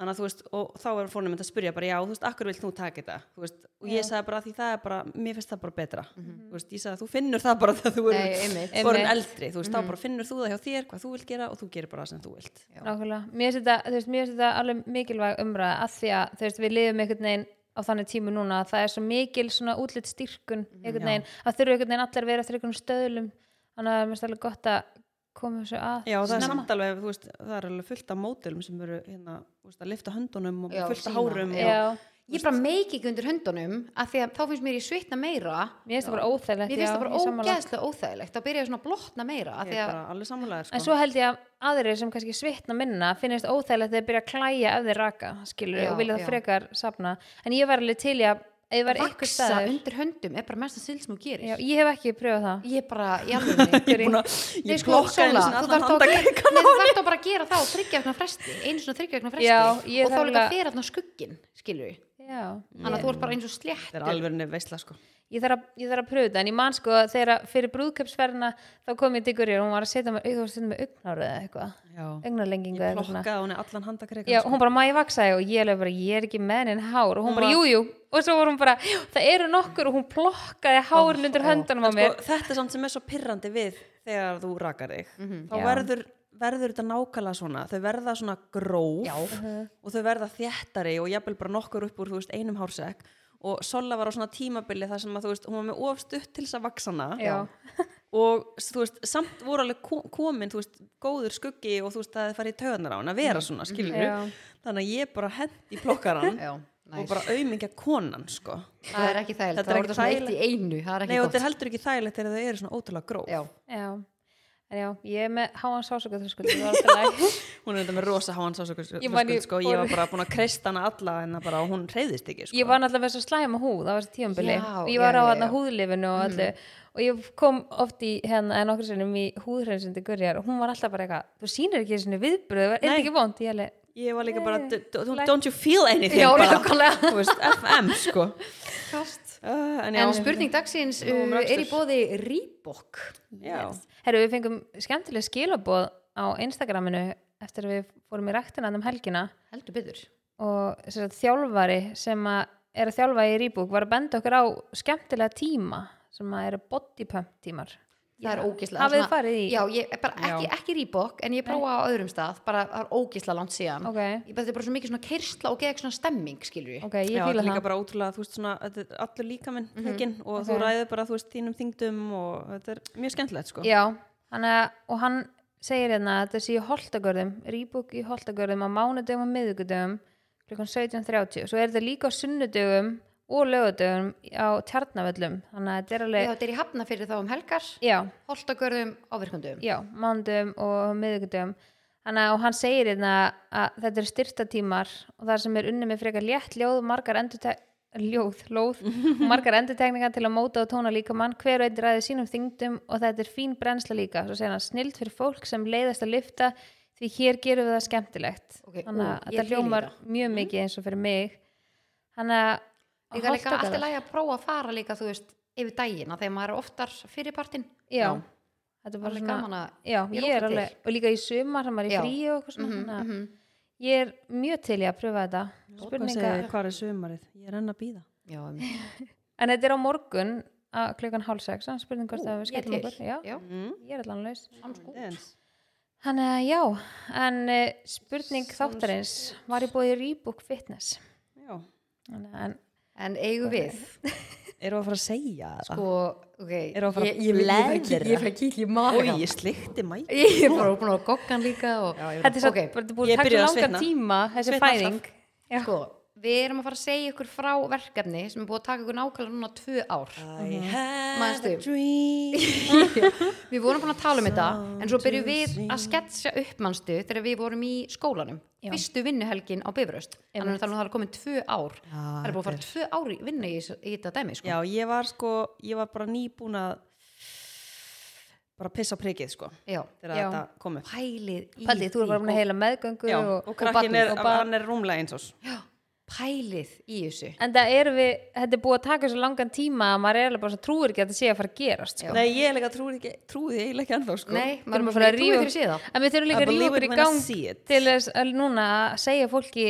A: þannig að þú veist, og þá er fórnum að spyrja bara já, þú veist, akkur vilt þú taka þetta Þú veist, og ég sagði bara því það er bara, mér finnst það bara betra þú veist, ég sagði að þú finnur það bara þegar þú er
B: Mhm. Nei, einmitt. Mhm.
A: orðin
C: Einmitt.
A: eldri, þú veist, þá bara finnur þú það hjá þér hvað þú vilt gera og þú gerir bara það sem þú vilt
B: Já.
C: Nákvæmlega, mér finnst þetta, þú veist, mér finnst þetta alveg mikilvæg umræða að því að þú veist, við lifum einhvern veginn á þannig tímu núna að það er svo mikil svona útlitt styrkun einhvern veginn, að þurfa einhvern veginn allar að vera eftir einhvern stöðlum, þannig að það er mest alveg gott að koma þessu að
A: Já, það er
C: snemma.
A: samt alveg, þú veist, það er alveg fullt af mótilum sem eru hérna, þú veist, að lifta höndunum og
B: Já,
A: fullt af
B: sína,
A: hárum og,
C: Já,
B: Ég bara meiki ekki undir höndunum af því að þá finnst mér ég svitna meira
C: mér finnst það bara óþægilegt
B: Mér finnst
C: já,
B: það bara
C: ég sammála.
B: ógeðslega óþægilegt þá byrja ég svona að blotna meira af
A: ég
B: því
A: er
B: að
A: bara alveg samanlega sko.
C: En svo held ég að aðrir sem kannski svitna minna finnist óþægilegt þegar byrja að klæja ef þeir raka, skilur,
B: Já,
C: og vilja
B: já.
C: það frekar safna, en ég var alveg til í að ef ég var einhver
B: vaksa
C: staður,
B: undir höndum er bara mest að sildst mjög gerir
C: já, ég hef ekki pröfað það
B: Ég bara, í alveg
A: ég er búin að,
B: Nei,
A: ég
B: sko,
A: blokka
B: Sola,
A: einu sinni
B: þú
A: allan
B: þarft þá að gera-
A: handakrika
B: nei, þú þarft þá bara að gera það á þryggja vegna fresti einu svona þryggja vegna fresti
C: Já, ég
B: og þá
C: þarf
B: líka
C: að-
B: fer að skugginn, skilur við
C: Já,
B: þannig að þú ert bara eins og
A: Það
B: sléttur
A: er alveg nefn veistla, sko.
C: ég þarf að, ég þarf að pröfu þetta en ég man sko að þegar að fyrir brúðköpsferðina þá kom ég til Guðrýr og hún var að setja mér þú var að setja mér augnáru eða eitthvað
A: Já.
C: augnarlengingu
A: Ég
C: eða eitthvað
A: blokkaði hún allan sko. handakrekan,
C: hérna. Já, og hún bara, má ég vaksa þig og ég alveg bara, ég er ekki með henni hár og hún bara, jú, jú, og svo voru hún bara það eru nokkur og hún plokkaði hárin undir höndanum á
A: En
C: mér
A: sko, þetta er samt sem er svo pirrandi við þegar þú rakar þig þá
C: Já.
A: verður, verður þetta nákvæmlega svona þau verða svona gróf Já. og þau verða þéttari og jafnvel bara nokkur upp úr þú veist, einum hársekk og Sola var á svona tímabili þar sem að þú veist, hún var með ofstutt til þess að vaksana
C: Já.
A: og þú veist, samt voru alveg ko- komin, þú veist, góður skuggi og þú veist, það er farið í taugarnar á hann að vera svona skilur
C: Já.
A: þannig að ég bara hendi plokkaran
B: Já,
A: og
B: næs.
A: bara auðmingja konan sko
B: það er ekki þægilegt,
A: Þetta
B: það
A: er
B: er
A: ekki
B: orðið svona eitt í
A: þægilegt.
B: einu það er
A: Nei,
B: ekki
A: og þetta
B: gott
A: er heldur ekki þægilegt þegar þau eru svona ótrúlega gróf
B: Já,
C: Já, en já, ég er með háan sásöka þröskuld, það var alltaf læg
A: Hún er þetta með rosa háan sásökur
C: Ég man ég-
A: sko, ég var bara búin að kreista hana alla en það bara, og hún reyðist ekki sko.
C: ég var náttúrulega með svo slæma húð á þessu tíumbili
B: Já,
C: og ég var
B: já,
C: á
B: já, Mhm.
C: hérna
B: já.
C: húðlifinu og öllu og ég kom oft í hérna en okkur sinnum í húðhreinsundi gurjar og hún var alltaf bara eitthvað, þú sýnir ekki þessu viðbröð, er þetta
A: Nei.
C: ekki vond? Ég alveg,
A: Ég var líka bara, "D- d-
C: Læk-
A: don't you feel anything
B: Já,
A: bara,
B: nákvæmlega.
A: Þú veist, FM sko uh, En já,
B: en um, spurning dagsins
A: Nú um
B: uh, er í
A: rekstur.
B: bóði Reebok
A: já.
C: herru við fengum skemmtileg skilaboð á Instagraminu eftir að við fórum í ræktina um helgina
B: heldur byggður
C: og sem sagt, þjálfari sem að er að þjálfa í rýbúk var að benda okkur á skemmtilega tíma sem að eru bodypump tímar
B: það er
C: Já.
B: ógislega
C: Hafið þið farið í?
B: Já, ég, bara ekki, ekki Reebok en ég prófa á öðrum stað bara það er ógislega langt síðan
C: ok,
B: ég bara þetta er bara svo mikið svona kyrsla og geða svona stemming skilur við
C: ok, ég
A: já, þetta
C: fíla
A: er líka
C: það
A: bara ótrúlega þú veist, svona, þetta er allur líkaminn mm og þú ræður bara, þú veist, þínum þingdum og þetta er mjög skemmtilegt sko.
C: Já, hann er, og hann segir hérna að þetta sé í Holtagörðum, Rýbúk í Holtagörðum á mánudögum og miðugudögum klukkan 17.30 og svo er þetta líka á sunnudögum og lögudögum á tjarnavöllum, þannig að þetta er
B: Já,
C: alveg
B: þetta er í hafna fyrir þá um helgar
C: já,
B: holtagörðum ávirkundum
C: já, mánudögum og miðugudögum Þannig að og hann segir hérna að þetta eru styrtatímar og það sem er unni með frekar létt ljóð, margar endurtek ljóð, lóð, og margar endurtekningar til að móta og tóna líka mann, hver og einn ræði sínum þyngdum og þetta er fín brennsla líka svo segir hann snild fyrir fólk sem leiðast að lifta því hér gerum við það skemmtilegt
B: Ok,
C: þannig
B: ú,
C: að
B: ég
C: þetta
B: fíla
C: hljómar
B: þetta.
C: mjög mikið eins og fyrir mig þannig að að
B: líka líka
C: Holtagörðar-
B: allt í lagi að prófa að fara líka þú veist yfir dagina þegar maður er oftar fyrir partinn
C: já, þetta er bara
B: alveg
C: svona
B: gaman að
C: já,
B: ég er
C: ég er
B: ókei til.
C: alveg, og líka í sumar sem maður er
B: Já.
C: í frí og eitthvað svona
B: Mhm,
C: þannig að
B: mhm.
C: ég er mjög til í að pröfa þetta
A: Hvað
C: spurningar
A: segir, hvað er sumarið? Ég er enn að býða
B: já, um,
C: En þetta er á morgun að klukkan hálf sex, þannig spurning hvort að við
B: ég
C: skellum
B: til.
C: okkur. Já,
B: já,
C: ég er allan laus.
A: Dance.
C: Þannig að já, en eh, spurning þáttarins var ég búið í Reebok Fitness.
A: Já,
C: Þannig að- En,
B: en eigum við
A: eru að fara að segja það?
B: sko, ok
A: Eru að fara að
B: ég, ég, ég,
A: blæðra?
B: ég, ég Sko. fyrir að kíkja í maga
A: Ói, ég slikti mæk
B: ég er bara búin að goggan líka og
A: Já, ég er
C: þetta er svo,
B: Ok.
C: bara þetta er búið
A: Ég
C: að taka
A: byrjaði
C: svo
A: að
C: langan
A: svitna.
C: tíma, þessi
A: Svitna
C: fæðing. Já.
B: sko, við erum að fara að segja ykkur frá verkefni sem er búið að taka ykkur nákvæmlega núna tvö ár
A: I had
B: Manstu?
A: a dream
B: við vorum búin að tala um þetta en svo byrjuðum við að sketsa upp mannstu þegar við vorum í skólanum
C: Já.
B: fyrstu vinnuhelgin á Bifröst þannig að það er komin tvö ár það er búið að
A: þetta
B: fara tvö ár í vinna í, þessu- í þetta dæmi sko.
A: Já, ég var sko, ég var bara nýbúin að bara pissa á prikið sko
B: Já.
A: þegar
C: Já.
A: þetta kom upp
B: pælið í
C: Paldið, þú er bara búin að heila meðgöngu
A: Já,
C: og,
A: og krakkin
C: barnið
A: er,
C: og barn.
A: hann er rúmlega eins og
B: Já, pælið í þessu
C: En það eru við, þetta er búið að taka svo langan tíma að maður er alveg bara svo trúir ekki að þetta sé að fara að gerast sko.
A: Nei, ég er líka trúið ekki, trúið eiginlega ekki ennþá sko
B: nei,
C: Við
B: maður er
C: erum að fara
B: bara
C: að
B: trúið þegar
C: rífa
B: séð þá
C: En við þurfum líka
A: I
C: að rífa
A: believe it
C: okkur í
A: when I
C: gang
A: see it.
C: til þess að núna að segja fólki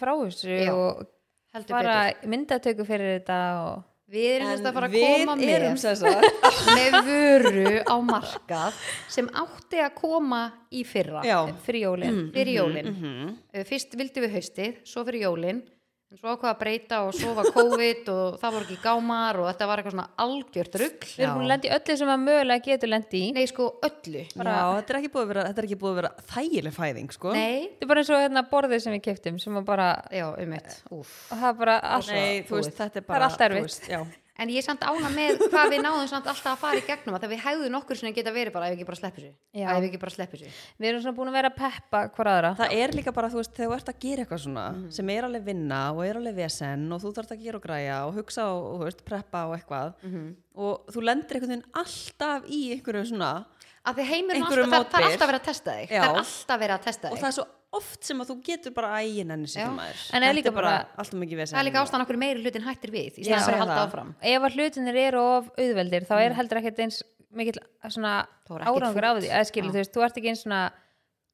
C: frá þessu
B: Já,
C: og
B: heldur
C: fara
B: betur
C: myndatöku fyrir þetta og
B: við erum sem sagt að fara að
A: við
B: koma
A: erum
B: með
A: sem sagt
B: með vöru á markað sem átti að koma í fyrra
A: Já, Mm,
C: fyrir jólin.
B: fyrir jólin
A: Mhm.
B: Uh, fyrst vildum við haustið, svo fyrir jólin en svo ákvaða að breyta og svo var COVID og það voru ekki gámar og þetta var eitthvað svona algjört rugg
C: Við erum búin að lenda í öllu sem að mögulega getur lendi í.
B: nei sko öllu
A: já, þetta er ekki búið að vera, þetta er ekki búið að vera þægileg fæðing sko
B: nei,
C: Þetta er bara eins og hérna borðið sem við keftum sem að bara,
B: já um eitt Úff.
C: og það er bara allt.
A: Nei, þú veist, þetta er
C: Það er
A: bara
C: allt
A: þú
C: erfitt.
A: veist, já.
B: en ég er samt ána með hvað við náðum samt alltaf að fara í gegnum að það við hefðum okkur sem geta verið bara ef við ekki bara sleppur sér
C: Já.
B: ef við ekki bara sleppur sér
C: Við erum svona búin að vera að peppa hver aðra.
A: Það er líka bara, þú veist, þegar þú ert að gera eitthvað svona
C: Mhm.
A: sem er alveg vinna og er alveg vesen og þú þarft að gera og græja og hugsa og, og þú veist, preppa og eitthvað
C: Mhm.
A: og þú lendir einhvern veginn alltaf í einhverju svona
B: að því heimurinn
A: Einhverju
B: alltaf, það, það er
A: mótbyr.
B: alltaf verið að testa þig
A: Já.
B: það er alltaf verið að testa
A: og
B: þig
A: það er svo oft sem að þú getur bara ægin enni sér
B: Já.
A: maður
C: En er
A: Þetta
C: líka
A: er bara
C: bara-
A: alltaf mikið vesen
B: það er líka ástæðan okkur meiri hlutin hættir við í
A: Já,
B: stæðan að
A: ég
B: halda
A: það.
B: áfram
C: Ef að hlutinir eru of auðveldir þá er heldur ekkert eins mikill svona
B: Þá Mm. er ekkert
C: árangur á
B: fúlt.
C: því. Eða skilur, þú veist, þú ert ekki eins svona,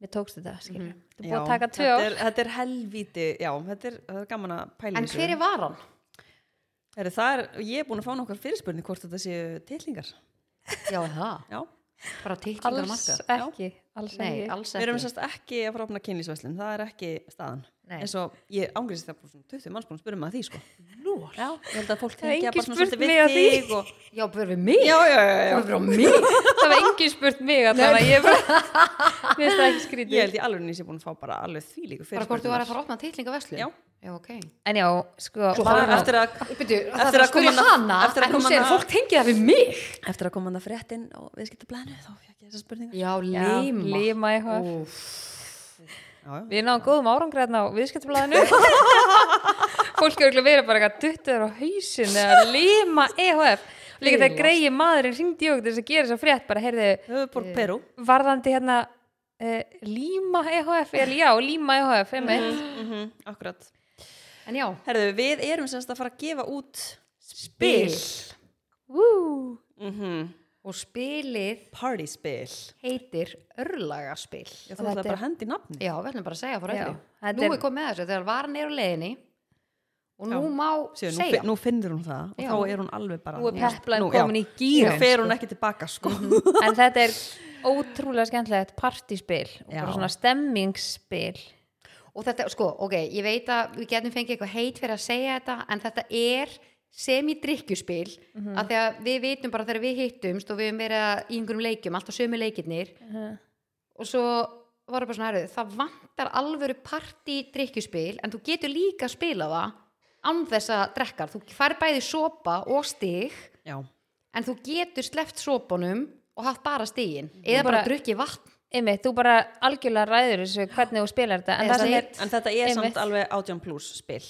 C: við tókst þetta, skilur.
B: Mhm.
C: Þú er búin að
A: Já,
C: taka tvö
A: þetta
C: ár.
A: er, þetta er helvíti, já, þetta er, þetta er gaman að pæla
B: en hver er varan?
A: Heru, það er, ég er búin að fá nokkar fyrirspurning hvort þetta séu tilhingar
B: já það
A: já,
B: bara tilkynningar á
C: Alls
B: markað
C: ekki, alls
B: Nei,
C: ekki.
B: alls
A: við
B: ekki.
A: erum sérst ekki að fara að opna kynlýsveslin það er ekki staðan
B: Nei.
A: eins og ég ángrist það bara svona 20 manns búin að spyrja mig að því sko.
B: Lól.
A: já, ég held að fólk
C: Það er
A: tengja
C: enginn
A: bara svona
C: spurt
A: svolítið
C: mig að
A: við
C: því.
A: þig og...
B: Já, búið við mig.
A: já, já, já, já.
B: Búið við mig.
C: Það var engin spurt mig allavega, ég er bara, mér finnst það ekki
A: ég
C: skrítið.
A: held í alveg nýs ég búin að fá bara alveg því líku
B: Bara hvort þú var að fara að opna tilningaverslun?
A: Já.
B: Já, ok.
C: En já, sko,
A: bara
C: bara-
A: eftir að
B: Byrju,
A: Eftir að koma hana- eftir að koma hana-
B: tengið það við mig.
A: eftir að koma hann að fréttin og viðskiptablaðinu þá fekk ég þessa spurningar
B: Já,
C: Já,
B: lima.
C: Lima eitthvað.
B: Úff.
A: já, já.
C: Við náðum góðum árangræðna á viðskiptablaðinu. Fólk er auðvitað verið bara eitthvað duttur á hausin eða Lima EHF. Líka þegar greiði maðurinn hringdi í okkur til þess að gera þess að frétt bara, heyrðu,
A: höfuborg Perú
C: varðandi hérna uh, Lima EHF, eða já, Lima EHF, einmitt.
A: mm -hmm, akkurat
B: En já,
A: Herðu, við erum semst að fara að gefa út
B: spil.
C: Woo!
A: mm
B: Og spilið
A: partyspil
B: heitir örlagaspil.
A: Já, þú ætlaði bara að hendi nafni
B: Já, við ætlum bara að segja frá
C: Já,
B: öllu.
C: þetta
B: Nú
C: er-
B: er komið með þessu þegar varan er á leiðinni og nú
A: Já.
B: má
A: Sér, nú,
B: segja.
A: fi- nú finnur hún það og
B: Já.
A: þá er hún alveg bara
C: Nú er
A: já.
C: peplæn
A: Nú, já.
C: komin í gýr.
A: Nú fer hún ekki tilbaka sko
C: en þetta er ótrúlega skemmtilegt partyspil og
A: Já.
C: bara svona stemmingsspil
B: Og þetta, sko, ok, ég veit að við getum fengið eitthvað heit fyrir að segja þetta en þetta er semidrykkjuspil mm
A: Mhm.
B: -hmm. að þegar við vitum bara þegar við hittumst og við höfum verið að- í einhverjum leikjum alltaf sömu leikirnir
A: Mhm.
B: og svo var það bara svona herrið það vantar alvöru partydrykkjuspil en þú getur líka að spila það án þess að drekkar þú fær bæði sopa og stig
A: Já,
B: en þú getur sleppt sopanum og haft bara stigin eða bara, bara
C: Bara-
B: drukkið vatn
C: einmitt, þú bara algjörlega ræður þessu hvernig þú spilar þetta en
B: Eða
C: það sem er,
B: segir-
A: en þetta er
C: Einmitt.
A: samt alveg 18 plus spil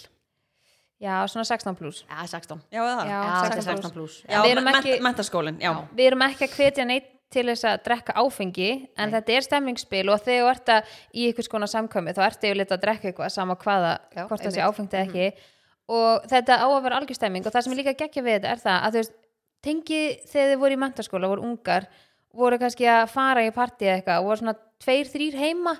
C: já, svona 16 plus
B: Já, 16
A: Já, eða það
C: Já,
B: Já,
C: 16
B: 16
C: plús.
B: plús.
A: Já,
C: Við erum
A: men-
C: ekki-
A: men- menntaskólinn, já.
C: við erum ekki að hvetja neitt til þess að drekka áfengi en þetta er stemmingsspil og þegar þú ert að í einhvers konar samkvæmi þá ertu yfirleitt að drekka eitthvað sama hvaða,
B: Já,
C: hvort það sé
B: einmitt. Mhm.
C: áfengt eða ekki og þetta á að vera algjör stemming og það sem ég líka geggja við þetta er það að þú veist, tengi þegar þið voru í mentaskóla voru ungar, voru kannski að fara í partí eða eitthvað og voru svona tveir, þrýr heima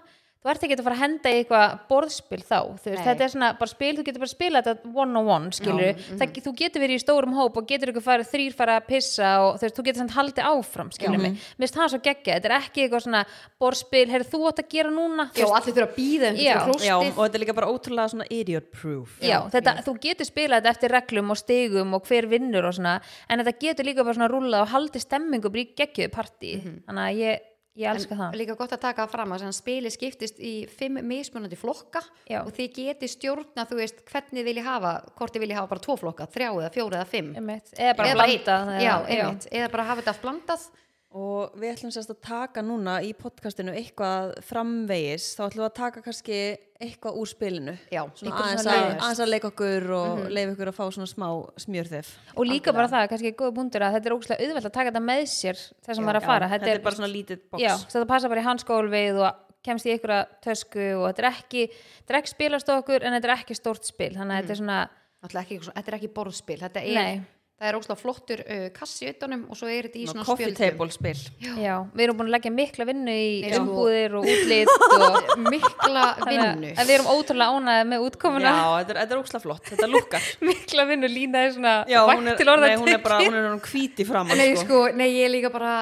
C: þú ert ekki að fara að henda í eitthvað borðspil þá, þú veist,
B: Nei.
C: þetta er svona bara spil, þú getur bara að spila þetta one on one skilur, það, þú getur verið í stórum hóp og getur ykkur farið þrýr fara að pissa og þú veist, þú getur samt haldið áfram, skilur mig mér finnst það svo geggja, þetta er ekki eitthvað svona borðspil, heyrðu þú átt að gera núna þú
B: Já, allir þurfa að býða um
C: Já.
B: klóstið
A: já, og þetta er líka bara ótrúlega svona idiot proof
C: Já, þetta, þú getur spilað þetta eftir reglum og stigum og hver vinnur og svona en þetta getur líka bara svona rúlað og haldið stemmingum í geggjöðu partí þannig að ég, ég elska
B: En
C: það
B: líka gott að taka það fram að sem spili skiptist í fimm mismunandi flokka
C: Já.
B: og þið geti stjórna þú veist hvernig þið vilji hafa, hvort þið vilji hafa bara tvo flokka, þrjá eða fjóra eða fimm
C: Einmitt. eða bara
B: eða
C: blanda
B: einn. já, einmitt, eða bara hafa þetta allt blandað
A: Og við ætlum sérst að taka núna í podcastinu eitthvað framvegis, þá ætlum við að taka kannski eitthvað úr spilinu.
B: Já,
A: svona
B: eitthvað
A: aðeins,
B: svona
A: að,
B: laust.
A: aðeins að leika okkur og mm leifa okkur að fá svona smá smjörþef.
C: og líka bara það, kannski góð búndur að þetta er ógæslega auðvelt að taka þetta með sér þess að maður er að fara
A: Þetta er bara svona lítið box.
C: já, svo það passa bara í hans gólfið og kemst í einhverja tösku og þetta er ekki þetta er ekki spilast okkur en þetta er ekki stórt spil þannig að þetta
A: Mm.
C: er svona
B: Náttúrulega ekki, eitthvað svona- þetta er ekki borðspil þetta er,
C: Nei.
B: það er óslega flottur uh, kassi utanum og svo er þetta í svona
A: Coffee table spil.
C: já, við erum búin að leggja mikla vinnu í
B: Nei, sko.
C: umbúðir og útlit og
B: mikla vinnu
C: þannig að- að við erum ótrúlega ánæðið með útkomuna
A: Já, þetta er, þetta er óksla flott, þetta lukkar.
C: mikla vinnu lína er svona
A: Já, hún
C: vægt
A: er,
C: til orða
A: nei, hún er bara,
C: tekið.
A: hún er hún hvíti framan,
B: Nei,
A: sko.
B: sko, nei, ég er líka bara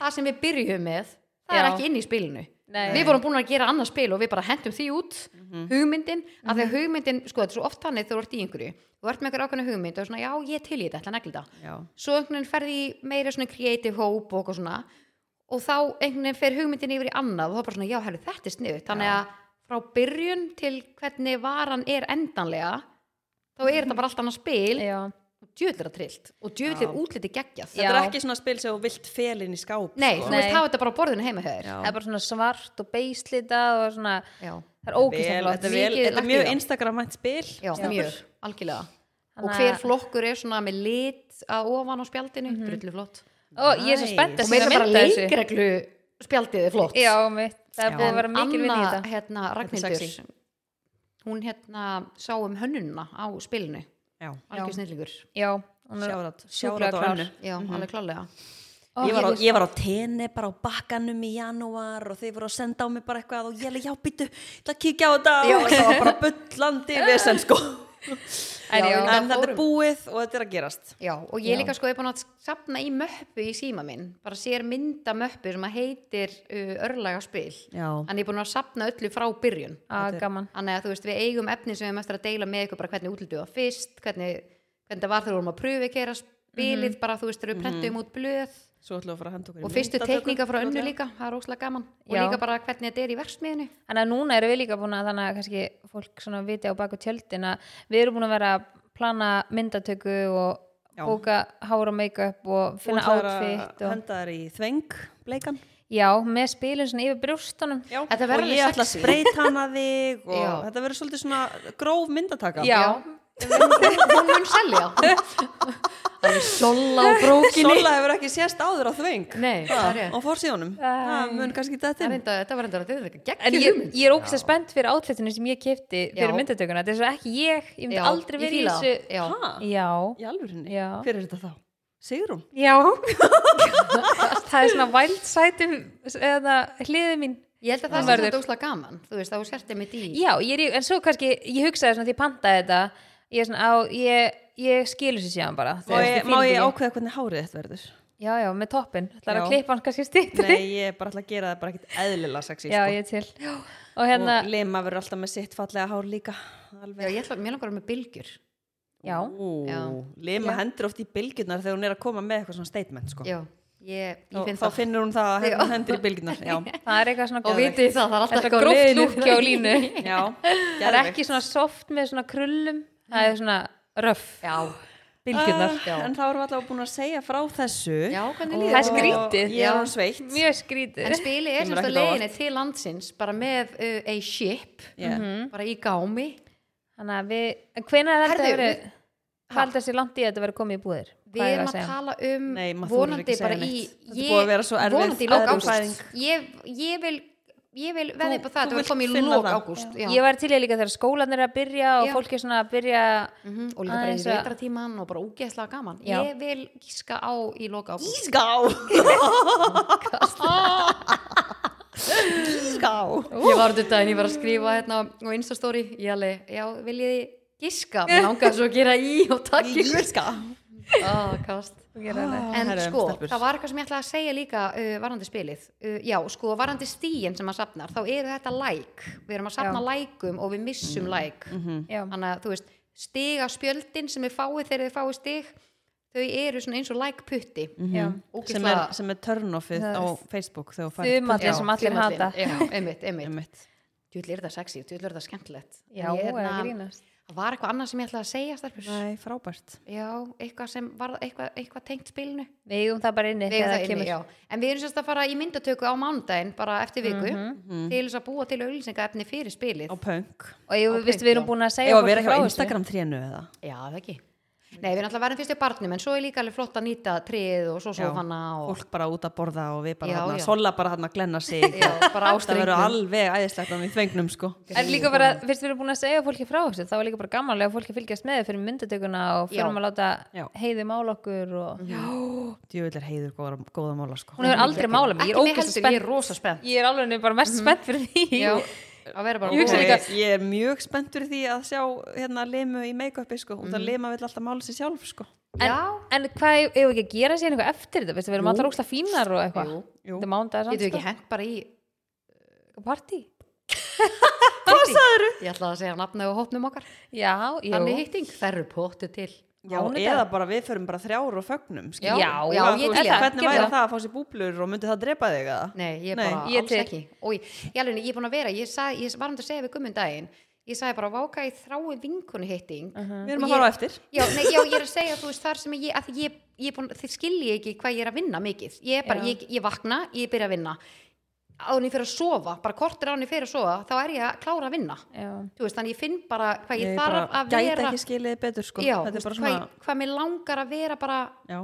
B: það sem við byrjum með, það er
C: Já.
B: ekki inn í spilinu
C: Nei. Mhm.
B: við vorum búin að gera annað spil og við bara hentum því út hugmyndin, af því að hugmyndin sko, þetta er svo oft þannig þegar þú ert í einhverju þú ert með einhverju ákveðna hugmynd og svona, já, ég er til í þetta ætla að negla þetta,
A: Já.
B: svo einhvern veginn ferði í meira svona creative hope og eitthvað svona og þá einhvern veginn fer hugmyndin yfir í annað og það er bara svona, já, herru, þetta er sniðut þannig að frá byrjun til hvernig varan er endanlega þá er þetta bara allt annað spil
C: já,
B: og djöfull er það trillt og djöfull er
A: Já.
B: útliti geggjað
A: Þetta er
C: Já.
A: ekki svona spil sem þú vilt felin í skáp.
B: Nei, þú
A: sko.
B: veist,
C: Nei.
B: hafa þetta bara á borðinu heima hjá þér.
A: Já.
C: það er bara svona svart og beislita og svona,
B: Já,
C: það er ógæslega
A: Vel,
C: flott
A: þetta er vel,
B: Mikið
A: þetta
B: lagt
A: er
B: í
A: mjög
B: það.
A: Instagram-mætt spil.
B: já,
A: stelpur.
B: mjög, algjörlega. Og
C: Þannig að- Mhm.
B: hver flokkur er svona með lit að ofan á spjaldinu, mm flott.
C: og ég er svo
A: Nice.
C: spennt
B: Og
C: að
B: meira
C: sjá
B: bara
C: mynda þessu.
B: leikreglu spjaldið er flott.
C: já, mitt, það er
A: Já.
C: búið að vera mikil vinni í
B: Anna,
C: þetta
B: hérna, Ragnhildur,
A: sexy.
B: hún hérna sá um hönnununa á spilinu,
A: Já,
B: algjör snillingur. Mhm.
C: já, hún er
A: sjárat,
C: sjúklega
A: sjárat og
C: klár.
A: önnu.
B: Já, alveg klálega.
C: Ó,
A: ég, var á, ég var á tenni bara á bakkanum í janúar og þeir voru að senda á mig bara eitthvað og ég leið, já, býttu, ég ætla að kíkja á þetta og það var bara bullandi vesen sko
C: En já,
B: við
A: en
B: bara
A: þetta er
B: fórum.
A: búið og þetta er að gerast
B: Já, og ég
C: Já.
B: líka sko er búin að safna í möppu í síma minn, bara sér mynda möppu sem að heitir uh, örlaga spil.
A: já,
B: Þannig ég er búin að safna öllu frá byrjun.
C: að gaman
B: Þannig að þú veist, við eigum efni sem við erum eftir að deila með ykkur bara hvernig útlitið var fyrst, hvernig, hvernig það var þegar við vorum að pröfi kera spilið, bara þú veist, þegar við prentum út blöð
A: svo ætlum við að fara að henda okkur í
B: og fyrstu
A: myndatöku
B: teikninga frá önnu
A: fljótlega.
B: líka, það er óslega gaman. Og
C: Já.
B: líka bara hvernig þetta er í verksmiðinu.
C: Þannig að núna erum við líka búin að þannig að kannski fólk svona viti á baku tjöldin að við erum búin að vera að plana myndatöku og
A: Já.
C: bóka hár og make-up og
A: Þú
C: finna
A: ætlar að
C: outfit og...
A: henda þær í þveng, bleikan
C: Já, með spilin svona yfir brjóstunum
A: já. og
B: Þetta verður alveg
A: ég ætla að
B: sexy.
A: spreita hana þig og
B: Já.
A: þetta verður svolítið svona gróf myndataka
B: Hún mun selja. Það er sola og brókinni.
A: Sola hefur ekki sést áður á þveng
B: Nei, það er rétt.
A: og fórsíðunum, það mun kannski
B: Það
A: þetta
B: er
A: inn
B: enda- Þetta var enda þetta er geggjum.
C: En ég, ég er ógst að spennt fyrir outfitinu sem ég kefti fyrir
B: Já.
C: myndatökuna Þetta er svo ekki ég, ég myndi
B: Já,
C: aldrei
B: ég
C: verið í
B: fíla
C: þessu
B: það. Já.
A: Ha?
C: Já,
A: í alvörinni,
C: Já.
A: hver er þetta þá? Sigrún?
C: já. Það er svona wild side um, eða hliðið mín
B: Ég held að
C: Hún
B: það sé
C: verður.
B: þetta óslega gaman. Þú veist, þá sért ég í.
C: Já, ég er, í- en svo kannski, ég hugsaði svona því ég pantaði þetta, ég er svona á, ég, ég skilur sér síðan bara. þú
A: Má
C: veist,
A: ég,
C: fíla
A: má
C: þetta
A: ég
C: ekki.
A: ákveða hvernig hárið þetta verður?
C: Já, já, með toppin, það er
A: Já.
C: að klippa hann kannski stýttri.
A: Nei, ég er bara ætla að gera það bara ekkert eðlilega sexy
C: Já,
A: sko.
C: ég er til. Og hérna,
A: og Lima verður alltaf með sitt fallega hár líka
B: Já,
A: alveg
B: ég ætla, mér langar að vera með bylgjur.
C: já,
A: Ú,
B: Já.
A: Lima hendur oft í bylgjurnar þegar hún er að koma með eitthvað svona statement sko.
B: Já, ég,
A: þá,
B: ég finn
A: þá
B: það.
A: finnur hún það að hendur,
B: Já.
A: hendur í bylgjurnar já,
C: það er eitthvað svona
B: og vitið þið það, það er alltaf
C: Þetta
B: eitthvað á
C: gróft
B: leiðinu.
C: lúkki á línu.
A: já
C: Það er ekki svona soft með svona krullum, það er svona röff.
B: Já,
A: bylgjurnar
B: já.
A: Ah, en þá erum við alltaf búin að segja frá þessu
B: já, hvernig
C: Það
B: líður
C: er
B: þér?
C: skrítið.
A: ég er hún sveitt
C: Mjög skrítið.
B: En spili
A: Kemur
B: er semst á
A: ekkert á
B: leiðinni til landsins bara með uh, a ship
A: yeah.
B: bara í gámi
C: Þannig að við, hvenær er þetta
B: Herðu,
C: verið,
B: við-
C: hvað heldur þessi langt í að þetta verið komið í búðir?
B: Við
C: Hvað er
B: erum
C: að
B: að
C: segja?
B: tala um
A: Nei, maður þorir
B: vonandi
A: ekki að segja
B: bara í
A: neitt. Þetta er búið að vera svo erfið
B: vonandi í lok
A: æðrufæðing.
B: ágúst ég, ég vil, ég vil veða upp á
A: Þú-
B: það
A: þú
B: þetta
A: vilt
B: við komum í
A: finna
B: lok
A: það.
B: ágúst
C: Ég var til ég líka þegar skólanir er að byrja og
B: Já.
C: fólk er svona að byrja
B: Mhm, og líka bara í
C: Aðeins að-
B: veitratíman og bara ógeðslega gaman
C: Já.
B: ég vil gíska á í lok ágúst
A: Íská Íská
B: Ég var þetta en ég var að skrifa hérna á Instastory, ég alveg, já, viljið þið giska, mér langaði svo að gera í og takk ykkur.
A: Íská
B: Ah, kast. En
A: Herra, um
B: sko,
A: stelpur.
B: það var eitthvað sem ég ætlaði að segja líka uh, varandi spilið. Uh, já, sko, varandi stíin sem maður safnar, þá eru þetta like. Við erum að safna lækum og við missum like.
C: Já.
A: Mhm.
B: Þannig að, þú veist, stiga spjöldin sem við fáið þegar þið fáið stig, þau eru svona eins og like putti
C: Já.
A: sem er, sem er turn-offið
C: Það
A: á
C: er-
A: Facebook þegar þú færir
C: þumallin sem allir hata
B: já, einmitt, einmitt
A: Einmitt.
B: djúli er það sexy, djúli er það skemmtilegt
C: já,
B: En ég,
C: það
B: hérna,
C: grínast
B: það var eitthvað annað sem ég ætlaði að segja starfus
A: Nei, frábært
B: já, eitthvað sem var eitthvað, eitthvað tengt spilinu
C: við eigum það bara inni
B: Við eigum
C: þegar
B: það inni,
C: kemur.
B: já. en við erum sérst að fara í myndatöku á mánudaginn bara eftir viku
C: Mhm.
B: til þess að búa til auðlýsingaefni fyrir spilið
A: á punk
C: og ég,
B: Á
C: veist, við erum
B: Patreon.
C: búin að segja
A: Eða að
C: fólki
A: vera
C: frá
A: ekki á
C: þessu.
A: Instagram trénu eða
B: já, það ekki Nei, við erum alltaf að verðum fyrst í barnum, en svo er líka alveg flott að nýta tríð og svo
A: Já.
B: sofana og...
A: fólk bara út að borða og við bara
B: Já,
A: þarna,
B: já.
A: sola bara hann að glenna sig
B: Já, bara á
A: það verður
B: strengnum.
A: alveg æðislegt á því fengnum sko
C: En líka bara, fyrst við erum búin að segja fólki frá þessu, þá var líka bara gamanlega fólki að fylgjast með þér fyrir myndatökuna og fyrir
B: Já.
C: að láta
A: Já.
C: heiði mála okkur og
A: djövill er heiður góða, góða mála sko
C: hún hefur aldrei mála mig,
B: Ekki
C: ég er
B: mig
C: ógæst
B: heldur,
C: spennt Mhm.
B: ég er rosa spennt.
C: Ég er alveg nefnir bara mest spennt fyrir því
B: Já, að vera bara...
C: Ég hugsa
A: Og ég,
C: líka-
A: ég er mjög spenntur í því að sjá hérna limu í make-upi sko út
C: Mhm.
A: að lima vill alltaf mála sér sjálf sko
C: En, en hvað ef við ekki að gera sér eitthvað eftir þetta, veistu, við erum allar ógstlega fínar og eitthvað
B: Jú.
A: Jú.
C: Þetta er mándagar
B: Getur við ekki hent bara í...
C: partí?
B: Hvað sagður? Ég ætlaði að segja nafna og hópnum okkar.
C: Já, jú
B: Þannig hitting, þær eru póttu til.
A: Já, eða bara við förum bara þrjár og fögnum
B: Já,
A: skilur.
C: Já,
B: já,
A: Hvað,
B: ég
A: þú
B: til
A: veist,
B: í það.
A: Hvernig
C: Gerum
A: væri
C: það.
A: það að fá sér búblur og myndi það drepa þig eða?
B: Nei, ég er
A: Nei,
B: bara
C: ég
B: alls
C: til.
B: ekki. Og ég, ég, alveg, ég er búin að vera, ég, sag, ég var um að segja við gummum daginn, ég sagði bara, váka ég þrái vinkonu hitting.
A: Við erum
B: Og
A: að fara á
B: ég-
A: eftir
B: Já, nei, já, ég er að segja, þú veist, þar sem ég, að ég, ég er búin, þið skilji ekki hvað ég er að vinna mikið. Ég er bara,
C: Já.
B: ég, ég vakna, ég byrja að vinna. Án ég fyrir að sofa, bara kortur án ég fyrir að sofa, þá er ég að klára að vinna.
C: Já,
B: Þú veist, þannig ég finn bara hvað ég,
A: Ég bara
B: þarf að
A: gæti
B: vera.
A: ekki skilið betur sko
B: já,
A: Þetta
B: þú
A: er bara
B: veist,
A: svona
B: hvað, ég- hvað mér langar að vera bara
A: Já,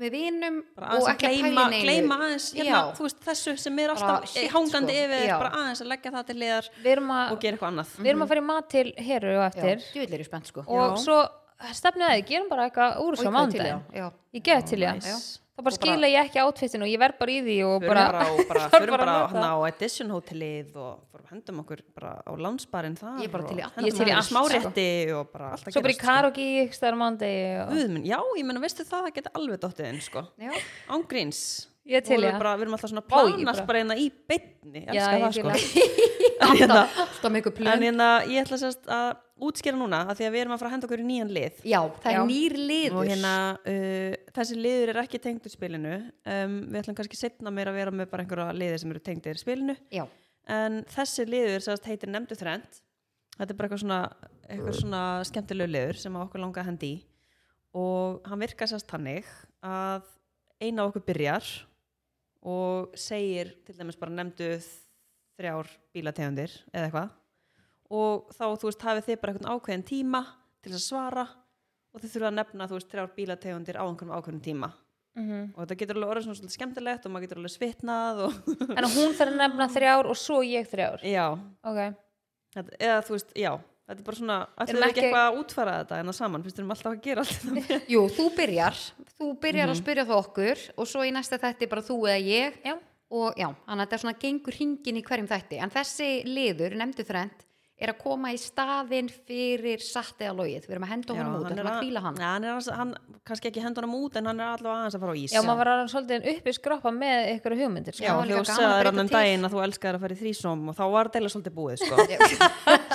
B: með vinum
A: bara
B: og
A: aðeins að
B: ekki að
A: gleyma,
B: pæla í neinu.
A: gleyma aðeins hérna,
B: Já.
A: þú veist, þessu sem er
B: Bara
A: alltaf eh,
B: shit,
A: hangandi
B: sko.
A: yfir þér,
B: Já.
A: bara aðeins að leggja það til liðar
C: við erum
A: og
C: að
A: gera eitthvað annað
C: Við erum að fara í mat til heru og
B: Já,
C: eftir
B: djöfull er ég spennt, sko.
C: og svo stefnið að þið, gerum bara eitthvað úr
B: Oj, hvað er til
C: svo
B: í
C: mándaginn
B: það? Já.
C: ég geði til ég
A: Nice.
C: þá bara skila ég ekki átfittinu og ég verð bara í því og
A: Förum
C: bara,
A: bara, og bara,
C: þarf
A: förum bara
C: að nota.
A: hana á Edition hótelið og bara hendum okkur bara á landsbarinn þar
B: Ég er bara til í
A: og
B: allt. sko.
A: hendum
C: Ég er til í
A: okkur
C: allt,
A: smárétti og bara allt að
C: svo bara í
A: gerast, sko.
C: karaoke ykkur staðar mándegi og...
A: Guð minn, já, ég menna, veistu það, það geti alveg dottið inn, sko.
B: Já.
A: Ángríns.
C: Ég til í
A: Vorum
C: það.
A: Bara, við erum alltaf svona að
C: Ó, ég
A: planast
C: bara-
A: bara hérna í beinni, ég
C: Já,
A: elska
C: ég
A: það,
C: fíla
A: sko. En hérna,
B: Alltaf með ykkur
A: en
B: plön.
A: hérna, ég ætla sérst að útskýra núna, að því að við erum að fara að henda okkur í nýjan lið.
B: Já, það
C: Já.
B: er nýr liður.
A: Og hérna, uh, þessi liður er ekki tengdur spilinu. Um, við ætlum kannski setna meira að vera með bara einhverja liðir sem eru tengdir spilinu.
B: Já,
A: En þessi liður sérst heitir nefndu þrend. Þetta er bara eitthvað svona, eitthvað svona skemmtilegu liður sem að okkur langa að hendi í. Og hann virkar sérst hannig að eina okkur byrjar og segir til dæmis bara nefndu þrjár bílategundir eða eitthvað. Og þá, þú veist, hafið þið bara eitthvað ákveðin tíma til þess að svara og þið þurfa að nefna, þú veist, þrjár bílategundir á einhverjum ákveðin tíma.
C: Mhm.
A: Og þetta getur alveg orðið svona svolítið skemmtilegt og maður getur alveg svitnað og...
C: en hún þarf að nefna þrjár og svo ég þrjár
A: Já,
C: ok,
A: Þetta, eða þú veist, já, þetta er bara svona ætlum
C: Erum
A: við ekki
C: ekki-
A: eitthvað að útfæra þetta en það saman, finnst við erum alltaf að gera allt þetta.
B: jú, þú byrjar, þú byrjar að spyrja þú okkur og svo í næsta þætti bara þú eða ég
C: já,
B: og já, þannig að þetta er svona gengur hringin í hverjum þætti, en þessi liður, nefndu þrend, er að koma í staðinn fyrir satt eða logið, við erum að henda honum út, við erum að kvíla hann.
A: ja, hann, er aðeins- hann kannski ekki hendur hann út en hann er allavega aðeins að fara á ís
C: já maður var alveg svolítið uppi skroppa með ykkur hugmyndir
A: Já,
C: sko.
B: var
A: því
B: líka
A: þú
B: gaman að
A: sagði
B: breyta
A: hann um
B: til.
A: daginn að þú elskar að fara í þrísom og þá var deila svolítið búið sko.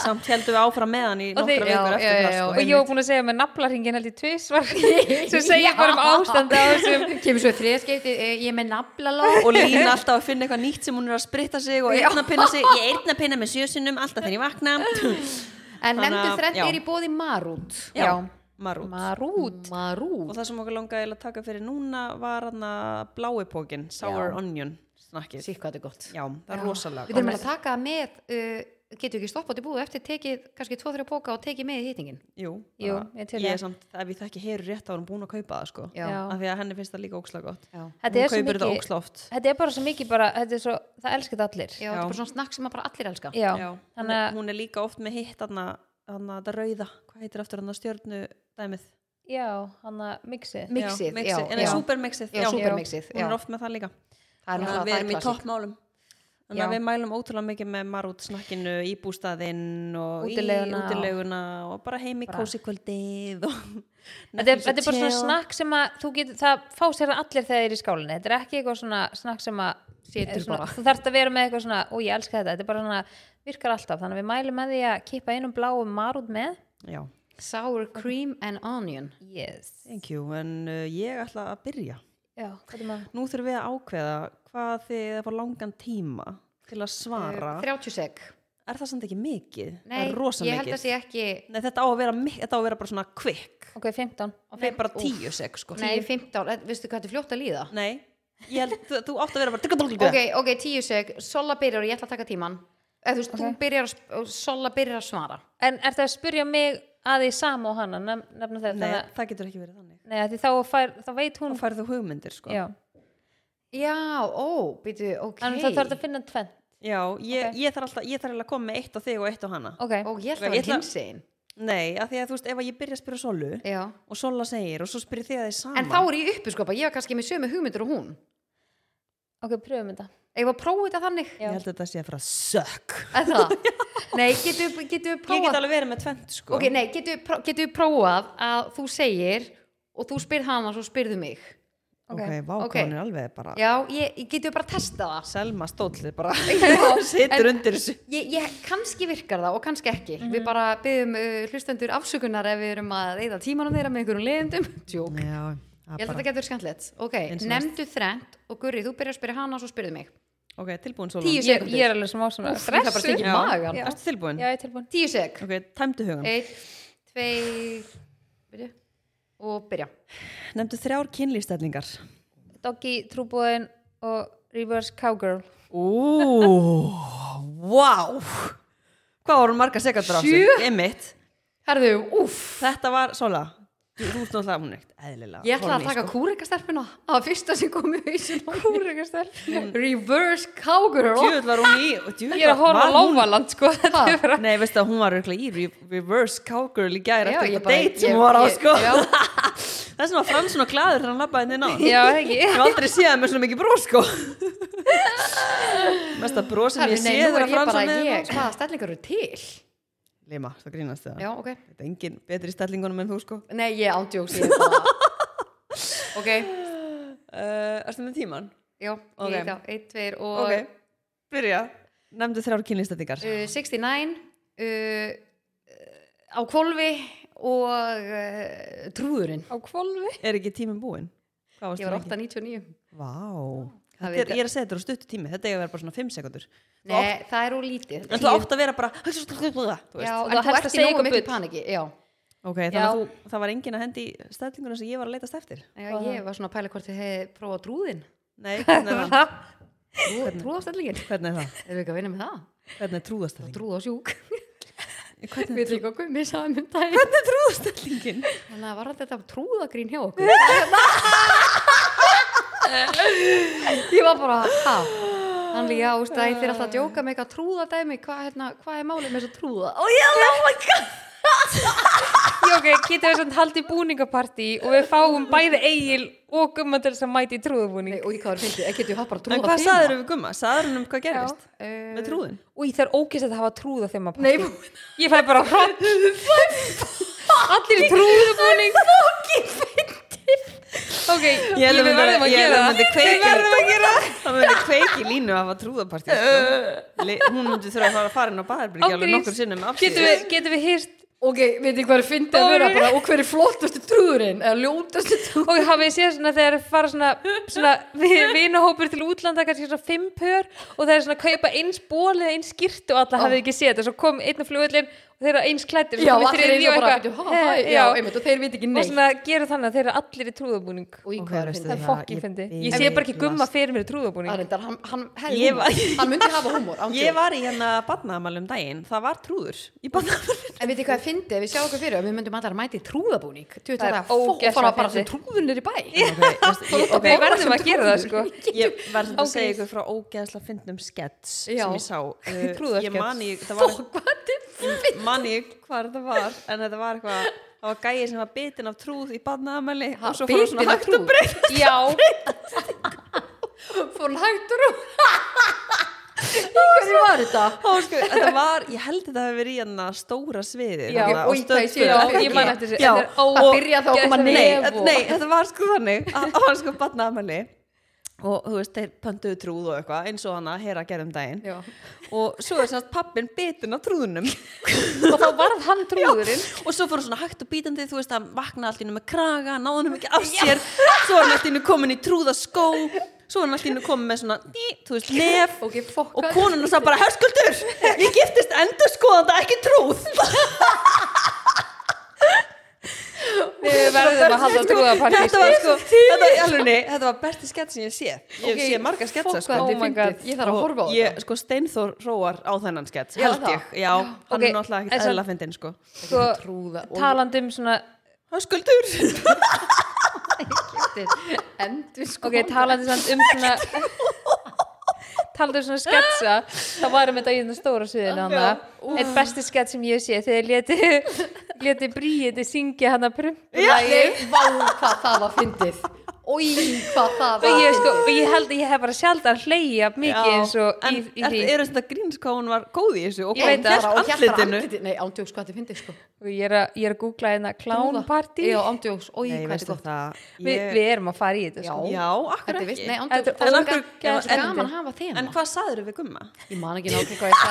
A: samt heldum við áfram með hann í
C: Og þeir-
A: nokkra vikur
B: já,
A: eftir
B: já,
A: það
B: já,
A: sko.
C: og ég var búin að segja með naflaringin held í tvisvar sem segja bara um ástanda á þessum
B: Kemur svo þriðskipti, "Eh, ég er með naflalá.
A: og lína alltaf að finna eitthvað nýtt sem hún er að spritta sig og einna pinna sig, ég einna pinna með sjösunum alltaf þegar ég vakna
B: En
A: Þannig að-
B: nefndu þrend
A: já.
B: er í bóði marút.
C: Já.
A: marút
C: marút
A: Og
B: Marút.
A: það sem okkur langaði eiginlega að taka fyrir núna var hann að blái pókin, sour
B: Já.
A: onion snakkið.
B: Sýk hvað þetta er gott.
A: Já, það er
B: Við
A: rosalega
B: þurfum
A: gott.
B: að taka það með, uh, getur við ekki stoppað til búið eftir tekið kannski 2-3 póka og tekið með í hýtingin.
A: Jú,
C: Jú,
A: bara-
C: ég til í
A: ég er
C: það.
A: samt, ef ég þekki heyru rétt þá er hún búin að kaupa það sko.
B: Já.
A: Af því að henni finnst það líka ókslega gott.
B: Já.
C: Þetta
A: hún
C: er svo
A: kaupir þetta
C: mikið-
A: ókslega oft.
C: þetta er bara svo mikið bara, þetta er svo, það elskir þetta allir
B: Já, þetta er bara svona snakk sem að bara allir elska.
C: já.
A: Já. Hún,
C: þannig
A: er,
C: að,
A: hún er líka oft með hitt hann að þetta rauða, hvað heitir aftur hann að stjörnu dæmið?
C: já, hann að mixið
B: Mixið, já,
A: mixið. En
B: já.
A: supermixið.
B: Já, supermixið,
A: Hún er
B: já.
A: oft með það líka.
B: Það er
A: Þannig að
B: náttúrulega
A: við
B: það er
A: erum í
B: klassik.
A: toppmálum. Þannig að
C: Já.
A: við mælum ótrúlega mikið með marút snakkinu í bústaðinn og
C: Útileguna.
A: í útileguna og bara heim í kósikvöldið og
C: Þetta er,
A: Netflix og
C: þetta er bara svona
A: chill.
C: snakk sem að þú getur, það fá sér það allir þegar þeir eru í skálinni. Þetta er ekki eitthvað svona snakk sem að
B: Situr
C: er svona,
B: bara.
C: þú þarft að vera með eitthvað svona, ó ég elska þetta, þetta er bara svona, virkar alltaf. Þannig að við mælum með því að kippa einum bláum marút með
A: Já,
B: Sour cream and onion
C: yes.
A: Thank you, en uh, ég ætla að byrja.
C: Já, hvað er maður?
A: Nú þurfum við að ákveða hvað þið fá langan tíma til að svara.
B: 30 sek
A: Er það samt ekki mikið? það
B: Nei,
A: er rosa
B: ég held
A: mikið.
B: að sé ekki
A: Nei, þetta á að vera, mik- þetta á að vera bara svona quick.
C: Ok, 15
A: Það er bara tíu sek, sko.
B: Nei, 15, eh, veistu hvað þetta er fljótt að líða?
A: Nei, ég held, þú- þú átt að vera bara...
B: Ok, ok, 10 sek, Sola byrjar og ég ætla að taka tíman Eða, þú veist, þú byrjar að, sp- og Sola byrjar að svara
C: En er það að spyrja mig að því sama og hana nef- nefna þetta
A: Nei,
C: Nei,
A: það getur ekki verið þannig.
C: Nei af því þá, fær, þá
A: Þá
C: veit hún
A: færðu hugmyndir, sko.
C: Já,
B: Já, ó, býtu, ok
C: en það þarf að finna tvenn
A: Já, ég,
C: Ok.
A: ég þarf alltaf, ég þarf eiginlega að koma með eitt á þig og eitt á hana.
C: Ok,
B: Ó, ég
A: Ok,
B: ætla að
A: ég ætla-
B: vera hinsegin
A: Nei, af því að þú veist, ef að ég byrja að spyrja Solu
B: Já
A: og Sola segir og svo spyrir þið að þið saman.
B: En þá er ég uppi, sko, bara ég var kannski með sömu hugmyndur og hún
C: ok, pröfum þetta
B: Ég var að prófa þetta þannig
A: Ég held að þetta sé að fara að sökk.
B: Er það? Nei, getum við- getum við
A: Ég
B: prófað
A: get alveg verið með tvent, sko.
B: Ok, nei, getum við pró- getum við prófað að þú segir og þú spyrð hana og svo spyrðu mig
A: ok, vá,
B: ok.
A: okay. hún er alveg bara...
B: Já, ég, ég getum við bara að testa það
A: Selma stóllið bara situr undir þessu.
B: Ég, ég, kannski virkar það og kannski ekki
A: Mhm.
B: Við bara byggjum uh, hlustendur afsökunar ef við erum að reyða tímanum þeirra með einhverjum leiðendum Jók,
A: Já,
B: ég held að þetta getur skemmtilegt Ok,
A: Mm, Eins og
B: nefndu þrennt og Gurri, þú byrjar að spyrja hana og svo spyrðu mig
A: Ok, tilbúin Sólun.
B: Tíu
C: ég, ég
B: sekundur,
C: er alveg smá svona
B: Úff, ég ætla bara að stinga í
A: Já.
B: magan.
C: Já.
A: Ertu tilbúin?
C: Já, ég er tilbúin
B: tíu sek
A: Ok, tæmdu hugan.
B: Eitt, tvei, byrja og byrja
A: Nefndu þrjár kynlýstællingar.
C: Doggy, trúbúðin og reverse cowgirl
A: Ú, wow. Hvað voru margar sekundur á sig?
B: Sjö?
A: Einmitt.
B: Herðu, úff
A: Þetta var, Sola, þú þú ert náttúrulega, hún er ekkert eðlilega.
B: Ég ætla að
A: horny,
B: taka
A: sko.
B: kúrekastelpuna Það var fyrsta sem kom í hausinn á mér. Reverse cowgirl
A: Djöfull var hún í, og djöfull
C: Ég er að horfa
A: var
C: á Lávaland, sko þetta er bara-
A: Nei, veistu að hún var örugglega í re- reverse cowgirl í gæri
B: Já,
A: eftir
B: ég
A: þetta
B: bara-
A: date sem
B: ég-
A: hún var á,
B: ég-
A: sko.
B: já.
A: Þess vegna var Frans svona glaður þegar hann labbaði henni ná.
C: Já, ekki
A: Ég hef aldrei séð það með svona mikið brós sko Mesta brós sem
B: Herðu,
A: ég
B: nei,
A: séð
B: nú
A: þegar
B: er ég
A: Frans
B: bara
A: var með
B: ég,
A: henni
B: Hvaða stellingar eru til?
A: Lima, það grínast það
B: Já, ok
A: Þetta er engin betri í stellingunum en þú sko
B: Nei, ég ándjóks ég er bara... Ok, Eh,
A: uh, Erstu með tíman?
B: já,
A: Ok.
B: okay. ég þá Eitt, tveir og
A: Ok, byrja Nefndu þrjár kynlistætingar
B: uh, 69 uh, Á kvolfi og uh, trúðurinn
C: Á kvolfi
A: Er ekki tíminn búinn? Hvað varstu
B: Ég var
A: lengi?
B: 8.99
A: Vá
B: Það
A: Þetta er,
B: veit-
A: ég er að segja þetta er á stuttu tími, þetta er að vera bara svona 5 sekundur
B: Nei, það er úr lítið
A: En þú átt að vera bara þú
B: Já,
A: veist.
B: en
C: þú
B: þú
C: helst
B: ert í
C: að segja
B: nógu
C: eitthvað
B: miklu
C: bull.
B: paniki Já,
A: Ok, þannig að
C: Já.
A: þú, það var enginn að hendi í stellingunum sem ég var að leitast eftir
B: já ég var svona að pæla hvort þið hefði prófað trúðinn
A: Nei, hvernig er það?
B: Trú, Trúðastellingin
A: Hvernig er það?
B: Erum við ekki að vinna með það?
A: Hvernig er trúðastælling?
B: Trúða sjúk
A: Hvernig
B: Við erum ekki að gummi saman um daginn
A: Þetta er trúðastellingin
B: Þannig að var þetta trúðagrín hjá okkur Ég var bara ha? Þannig já, úst, æ, þið er alltaf að djóka með eitthvað trúðadæmi Hvað hérna, hva er málið með þess að trúða? Ó, já, oh my god
C: Já, ok, getum við svona haldið búningapartí og við fáum bæði eigil og gumma til þess að mæti trúðubúning
B: Nei, Og ég hvað er fyndið, ekki getur hatt bara trúða
A: En hvað saður við gumma? Saður hann um hvað gerðist?
C: eh,
B: uh,
A: Með trúðin?
C: Og ég þarf ókist að hafa trúða þeim að
B: Nei,
C: Ég fæ bara hrótt Allir í trúðubúning Fokkin fyndið Ok, ég,
A: held að
C: við
A: myndi-
C: verðum að
A: ég held
C: gera
A: myndi
C: það
A: kveiki-
C: Við verðum að gera það
A: Það myndi kveiki línu að hafa trúðapartí sko. Le- Hún myndi þurfa að fara að fara inn á baðherbergi alveg
C: Ángríns.
A: nokkur sinnum
C: Getum við, getum við hýrt
B: ok, veit ég hvað er fyndið að vera bara Og hver er flottustu trúðurinn, eða ljótastu trúðurinn
C: og hafið þið séð svona þegar þeir fara svona, svona vinahópur til útlanda kannski svona fimm pör og þeir svona kaupa eins ból eða eins skýrt og alla hafið ekki séð þetta svo kom einn á flugullin og þeir eru eins klættir
B: Já, allir er bara, bíddu, ha, hæ, já, einmitt, og þeir veit ekki
C: og
B: neitt
C: svona gerur þannig að þeir eru allir í trúðabúning
B: Og í hvað er fyndið
C: það er fokkin
A: ég
C: fyndi
A: bið-
C: ég sé bara ekki gumma fyrir mér í
B: Það
C: trúðabúning
B: reyndar, hann, hann hefði
A: Ég
B: húmor
A: var-
B: Hann myndi hafa húmor
A: Ég var í hérna badnaðamæli um daginn Það var trúður í badnaðamæli
B: En veit þið hvað er fyndið, við sjáum okkur fyrir að Við myndum allar að mæta í trúðabúning Þú veit
C: Það er
B: það, fólk
C: ógeðslega
B: fara bara sem
C: fyndið.
B: trúðunir í bæ
A: Ok,
C: við verðum að gera það sko
A: Ég verður að
C: Ángríns.
A: segja ykkur frá ógeðslega fyndnum skets
B: Já.
A: sem ég sá Uh,
C: Trúðarskets.
A: Ég man í, það var
B: Fólk, Hvað er það?
A: manni hvað þetta var en þetta var eitthvað það var gæið sem var bitin af trúð í badnaðamæli
B: Ha,
A: og svo fór hann
B: bitinn
A: svona
B: af
A: hægt og
B: trúð?
A: breytt
C: já,
B: Fór hann hægt og rú Í hverju var þetta?
A: sko, þetta var, ég held þetta hefur verið í hérna stóra sviði
C: Já,
A: þarna á
B: og í hvað ég sé,
A: Stöð
C: já,
A: tvö.
C: ég man eftir þessu
A: Já,
C: Þetta er
A: og-
B: Það byrja þá að koma
C: ógeðslega-
A: nei,
B: nef
A: þetta- nei, þetta var sko þannig að að hann sko badnaðamæli og þú veist, þeir pöntuðu trúð og eitthvað eins og hana hera gerðum um daginn
B: Já.
A: og svo er semst pappin bitinn af trúðunum
C: og þá varð hann trúðurinn
A: og svo fór hann svona hægt og bítandi þú veist, hann vaknaði allt í hennu með kraga náði hann ekki af sér svo var hann allt í hennu komin í trúðaskó svo var hann allt í hennu komin með svona dí, þú veist, nef
B: ok, fokk
A: og konuna sá bara, herskuldur ég giftist endur skoðanda, ekki trúð
C: við verðum að halda trúðapartí
A: þetta var sko, þetta var, alunni, þetta var besti skett sem ég sé ég
B: Ok,
A: sé marga sketsa
B: fokk
A: sko.
B: hvað þetta
C: Oh
B: er
C: my
B: fyndið,
C: God.
B: ég þarf að horfa á
A: Og
B: þetta
A: ég, sko, Steinþór róar á þennan skets
B: Já,
A: held
B: það.
A: ég, já, hann
C: Ok,
A: er náttúrulega
C: en
A: ekkert
C: svo-
A: eðla að fyndin sko
C: sko,
B: trúða og-
C: talandum svona
A: Höskuldur
B: endur sko
C: ok, talandi samt um svona talandi um svona sketsa þá varum þetta í þetta stóra suðinu hann eitt besti skets sem ég sé þegar leti, leti Bríði syngja hann að prumpulagi
B: Nei, vá hvað það var fyndið Ói, hvað það
C: og
B: var
C: ég, sko, og ég held að ég hef bara sjaldan hleyja mikið eins og
A: en
C: í, í
A: er,
C: því
A: er þetta gríns hvað hún var góð í þessu og
C: Ég
A: hvað hún
C: veit það,
A: hélt
B: bara og hérna
A: andlitinu
B: andlitið Nei, ándjóks hvað þetta er fyndið sko
C: og ég er að, ég er að googla hérna
B: Trúða.
C: klánpartí
B: Já, ándjóks, ói,
A: Nei,
B: hvað þetta
A: veistu
B: er gott
A: það
C: Vi,
A: ég,
C: við erum að fara í þetta
B: Já,
C: sko.
A: Já, akkur
B: Þetta er
A: ekki
B: vist, nei,
C: Þetta-
B: ándjóks
C: en
B: Það er
C: akkur-
B: gaman-
C: en-
B: gaman að hafa þema
A: En hvað saður við gumma?
B: Ég man ekki náttúrulega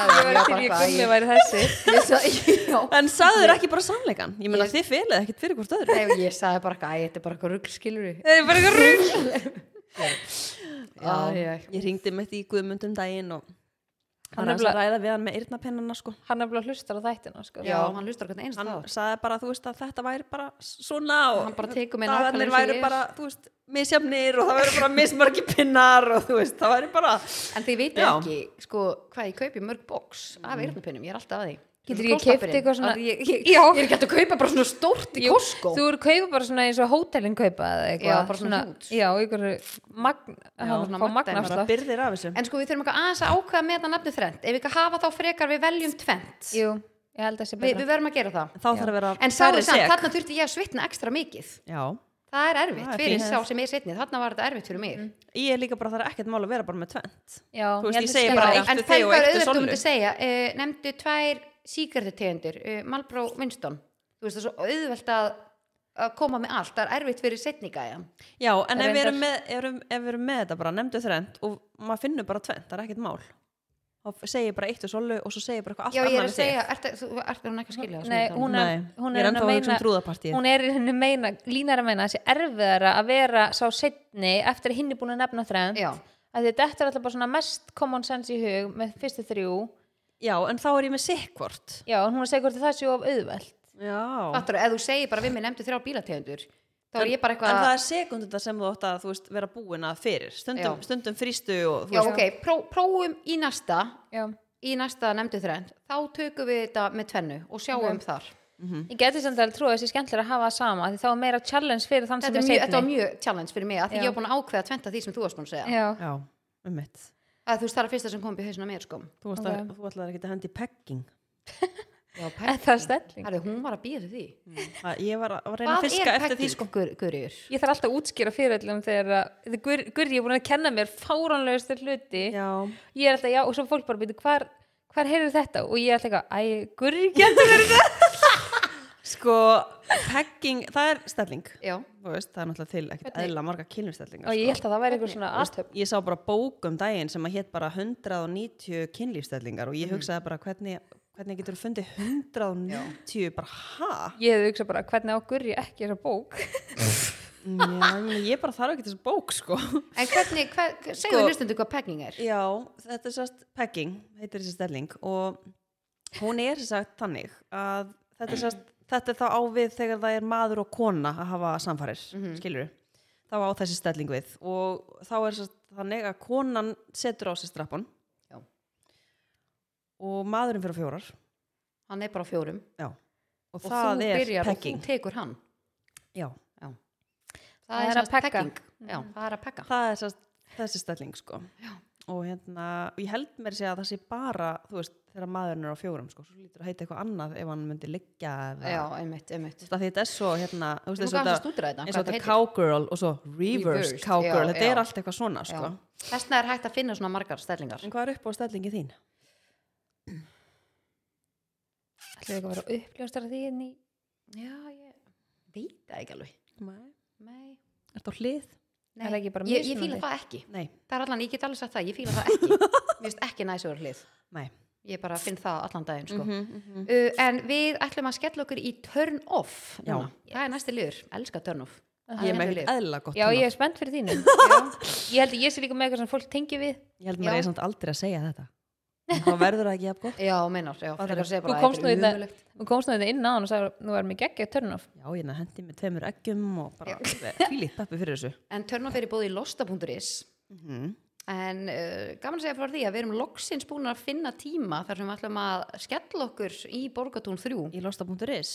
B: hvað ég sagði bara,
C: ég var til í gummi væri þessi
B: æ, Ég sagði, já
A: En saður ekki bara sannleikan? Ég meina
B: Ég-
A: þið felið ekkert fyrir hvort öðru
B: Nei, ég sagði bara eitthvað, æ, þetta er bara eitthvað rugg, skilur við
C: það er bara eitthvað rugg
B: Já, já,
A: Ég ringdi mitt í Guðmundum daginn og hann
C: er
A: er að ræða við hann með yrnapennana sko
C: hann er bara að hlusta á þættina sko.
B: já, hann hlustar hvernig einst
A: hann
B: þátt
A: sagði bara, þú veist, að þetta væri bara svona og
B: Hann bara tekur mig nákvæmlega
A: dagarnir
B: eins og
A: væri
B: ég er.
A: bara, þú veist, misjafnir og það væri bara mismargi pinnar og þú veist, það væri bara
B: En þið veitum
A: Já.
B: ekki, sko, hvað ég kaupi mörg bóks af eyrnapinnum, Mm. ég er alltaf að því
C: Getur
B: Svona
C: ég keypt
B: krosspappírinn.
C: eitthvað svona-
B: Að Ég, ég,
C: Já.
B: ég er ekki hægt að kaupa bara svona stórt í
C: Jú,
B: Costco
C: Þú eru kaupa bara svona eins og hótelin kaupa eða eitthvað.
B: Já, bara svona huge.
C: Já, ykkur magn, hann,
B: svona
C: fá
B: magn-
A: bara
C: magnafslátt.
A: byrðir af þessu
B: En sko, við þurfum eitthvað aðeins að ákvaða með þetta nafni þrend Ef við ekki hafa þá frekar við veljum tvent Vi,
C: Jú, ég held að það sé
B: Við
C: betra.
B: verðum að gera það
A: þá þarf að vera
B: En sáðu
A: færri
B: samt,
A: sek.
B: þarna þurfti ég að svitna ekstra mikið
A: Já,
B: Það er
A: Það
B: erfitt
A: er
B: fyrir Mm.
A: fínt.
B: sá sem ég setni Þarna var þetta erfitt fyrir mig
A: ég er líka bara, það er ekkert mál að vera bara með tvent
C: Já,
A: Þú veist,
C: held
A: ég
C: að
A: segi
C: sé
A: bara
C: betra.
A: eitt.
B: En
A: Eittu þig
B: það
A: og
B: var
A: eittu
B: auðvitað
A: Sollu.
B: um að segja uh, Nemndu tvær síkartutegundir uh, Malbró Winston Þú veist það er svo auðvelt að, að koma með allt Það er erfitt fyrir setningæjan
A: Já, en ef við
C: Reyndar.
A: erum með, erum, ef við erum með þetta bara, nefndu þrend og maður finnur bara tvent, það er ekkert mál þá segir bara eitt og solu og svo segir bara eitthvað allt
B: Já ég
A: annað
B: er að
A: við þig.
B: segja, ert, þú ert hún ekki að skilja það sem
C: Nei,
B: ég tala um?
C: hún
A: Nei,
C: hún
A: ég
C: er
A: er
C: að
A: ennþá að hugsa
C: meina-
A: um trúðapartíð
C: Hún er í henni meina, línar að meina þessi erfiðara að vera sá setni eftir að hinn er búin að nefna þrenn.
B: um. Já.
C: Að þetta er alltaf bara svona mest common sense í hug með fyrstu þrjú.
A: Já, en þá er ég með sikkvort
C: Já, en hún er að segja hvort að það sé of auðvelt.
A: Já
B: Fattarðu, ef þú segir bara við mig nefndu þrjá bílategundur Þá er ég bara
A: en
B: eitthvað
A: það er sekundundar sem þú átt að þú veist, vera búin að fyrir stundum,
B: Já.
A: stundum frístu og þú
B: Já, ok, pró, prófum í næsta
C: Já.
B: í næsta nefndu þrend þá tökum við þetta með tvennu og sjáum þar
C: Ég geti samt alveg trúið að þessi skemmtilega að hafa það sama því þá er meira challenge fyrir þann
B: þetta, er
C: sem
B: mjög,
C: er
B: þetta var
C: setni.
B: mjög challenge fyrir mig að því
C: Já.
B: ég var búin að ákveða tventa því sem þú varst búin að segja
C: Já.
A: já, um mitt
B: að þú veist það er að fyrsta sem kom upp í hausinu á mér sko
A: þú, varst að, þú ætlaði ekki að hendi í pegging
B: Já,
C: Er það stelling?
B: Herðu, hún var að býja því
A: Það- ég var að, var að reyna að
B: Hvað
A: fiska
B: er
A: eftir því
B: pekking,
A: sko
B: sko, Guðriður?
C: Ég þarf alltaf að útskýra fyrir öllum þegar að þegar Gur- Gurri er búin að kenna mér fáránlegustu hluti
A: já,
C: ég er alltaf, já, og svo fólk bara byrja hvar, hvar heyrðu þetta og ég er alltaf eitthvað, æ, Gurri kenna mér þetta
A: sko pegging, það er stelling
B: Já,
A: þú veist, það er náttúrulega til ekkert eðla marga kynlýfstellingar
C: og ég held að það væri eitthvað svona aðtöp
A: ég sá bara bók um daginn sem að hétt bara 190 kynlýfstellingar og ég hugsaði bara hvernig, hvernig getur fundið 190 bara ha?
C: ég hefði hugsað bara, hvernig á Gurri ekki þessa bók
A: Já, ég meina, ég bara þarf ekki þessu bók sko
B: en hvernig, hver, segðu sko, hlustundu hvað pekking er
A: Já, þetta er sérst pegging, heitir þessi stelling og hún er sérst þannig að þetta er sérst þetta er þá ávið þegar það er maður og kona að hafa samfærir, mm
B: Mhm.
A: þá á þessi stelling við og þá er sérst þannig að konan setur á sér strappan
B: Já.
A: og maðurinn fyrir á fjórar
B: Hann er bara á fjórum
A: Já. og,
B: og
A: það
B: þú
A: er
B: byrjar og þú
A: pegging
B: tekur hann
A: Já,
B: Já.
C: Það er
B: sem
C: að
B: sagt
C: pegga.
B: pegging. Já,
A: Mm.
B: það er að pekka
A: það er sérst þessi stelling sko og hérna, og ég held mér segja að það sé bara þú veist, þegar maðurinn er á fjórum sko, svo lítur að heita eitthvað annað ef hann myndi liggja eða
B: Já, einmitt, einmitt
A: Þú veist, af því þetta er svo hérna, þú veist,
B: Nú
A: eins og
B: gafst að
A: þetta-
B: stúdra þetta,
A: eins
B: hvað
A: og þetta
B: þetta heitir.
A: cowgirl og svo reverse
B: Reversed,
A: cowgirl
B: já,
A: þetta er
B: já.
A: allt eitthvað svona sko.
B: Þessna er hægt að finna svona margar stellingar
A: en hvað er upp á stellingi þín?
C: ætlum við ekki að vera uppljóstara því en í
B: Já, ég veit það ekki alveg
A: er
B: Nei,
A: þetta á hlið?
C: Er það ekki bara
B: ég, ég
C: mismunandi?
B: fíla það ekki
A: Nei,
B: það er allan, ég get alveg sagt það, ég fíla það ekki mér finnst ekki næs og hlið
A: nei.
B: ég bara finn það allan daginn sko.
A: Mhm, mhm.
B: uh, en við ætlum að skella okkur í turn off
A: Já.
B: núna. það er næsti liður, elska turn off Það
A: Ég er
B: er hérna
A: með
B: næsti
A: eitthvað
B: liður.
A: eðla gott
C: Já,
A: tónlag.
C: ég er spennt fyrir þínu Ég held að ég sé líka með eitthvað sem fólk tengi við
A: Ég held maður
B: Já.
A: er samt aldrei að segja þetta. En Þá verður það ekki jafn gott.
B: já, meinar, já, frekar að segja
C: Þú
B: bara
C: komst
B: þetta
C: nú
B: er
C: hérna-
B: ömurlegt.
C: Þú komst nú þetta inn á hann og sagði Nú erum við geggja turn-off
A: Já, ég hendi með tveimur eggjum og bara fílið pappi fyrir þessu.
B: en turn off er í bóði losta.is Mhm. En uh, gaman að segja frá því að við erum loksins búin að finna tíma þar sem við ætlum að skella okkur í Borgatún 3
A: Í losta.is.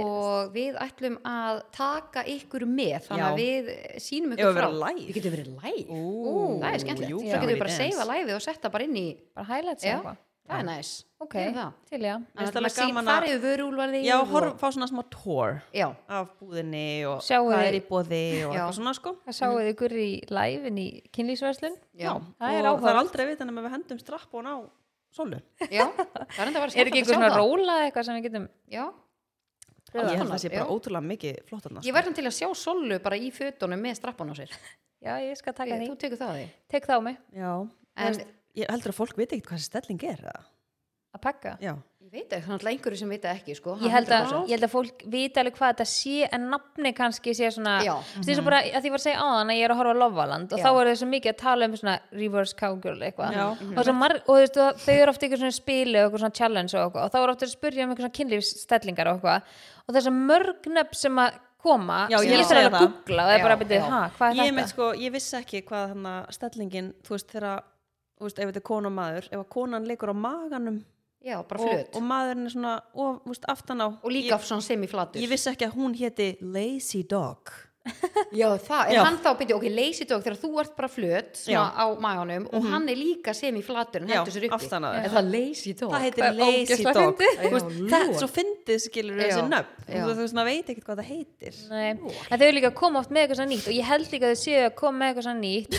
B: og við ætlum að taka ykkur með þannig að
A: Já.
B: við eh, sínum
A: Eigum
B: ykkur
A: við
B: frá.
A: að vera live?
B: Við getum verið live.
A: Ú,
B: það er skemmtilegt.
A: jú,
B: Svo
A: family
B: getum við bara að
A: dance.
B: seifa live og setja bara inn í,
C: Bara highlights
B: Já.
C: eða eitthvað
B: það er næs.
C: Ok,
B: Gerum það.
C: til já
A: Mér finnst alveg
B: Þannig að maður
A: gaman
B: sín
A: að-
B: farið vörúlvarði.
A: Já, horf, fá svona smá tór
B: Já,
A: af búðinni og
C: Sjáu
A: hvað
C: þið-
A: er í búði og
B: Já.
A: eitthvað svona sko.
C: Það sáu þið ykkur í live inn í kynlýsverslun
B: já,
A: og
C: það er
A: það er
C: áhugavert.
A: aldrei að vita nema við hendum strapp á sólu.
B: já. Það er enda að vera
C: Er
B: skemmtilegt
C: ekki eitthvað
B: að sjá
C: svona
B: það.
C: róla eða eitthvað sem við getum
B: Já,
A: Ég held að
B: konar,
A: það sé bara
B: já.
A: ótrúlega mikið flott annars.
B: ég verðum til að sjá Sollu bara í fötunum með strappan á sér.
C: Já, ég skal taka því
B: Þú tekur það á því.
C: Tek þá á mig
A: Já,
B: En
A: ég heldur að fólk veit ekkert hvað þessi stelling er. eða?
C: að pakka
A: Já,
B: Ég veit ekki, þannig að einhverju sem vita ekki, sko.
C: Ég held, að,
B: 100%.
C: ég held að fólk vita alveg hvað þetta sé en nafni kannski sé svona
B: Já.
C: Þú veist, bara að því var að segja áðan að ég er að horfa á Lovaland og
B: Já.
C: þá er þau svo mikið að tala um svona reverse cowgirl eitthvað
A: Já.
C: og, svo marg, og þú veist, og þau eru ofta eitthvað svona spili og eitthvað svona challenge og eitthvað og þá eru ofta að spyrja um eitthvað svona kynlífsstellingar og eitthvað og þess að mörg nöfn sem að koma
A: Já,
C: sem
A: ég er
C: ég
A: að
C: þarf
A: segja
C: alveg að
A: það.
C: googla og það
B: Já,
C: er bara að byrja,
B: já.
C: ha, hvað
A: ég,
C: er
A: með,
C: þetta?
A: sko, ég vissi ekki hvað hann að stellingin, þú veist, þegar að, þú veist, ef þetta er kona og maður, ef að konan leikur á maganum
B: Já, bara
A: og,
B: flöt.
A: og
B: Og,
A: maðurinn er svona og, þú veist, aftan á
B: líka svona semiflatur.
A: ég, ég vissi ekki að hún héti Lazy Dog
B: Já, það, en
A: Já.
B: hann þá byrja, ok, lazy dog þegar þú ert bara flöt svona
A: Já. Mhm.
B: á maganum og hann er líka semiflatur en
A: Já,
B: hendur sér uppi.
A: aftan á þér.
B: Er það lazy dog?
A: það heitir
C: Hvað er
A: Lazy
C: ógeðslega
A: Dog
C: fyndið?
A: Þú veist,
B: Já,
A: það
B: lord.
A: svo fyndið skilur
B: Já,
A: þessi nöfn
B: já.
A: þú veist, þú veist, maður veit ekkert hvað það heitir
C: Nei, en þau eru líka að koma oft með eitthvað svona nýtt og ég held líka að þau séu að koma með eitthvað svona nýtt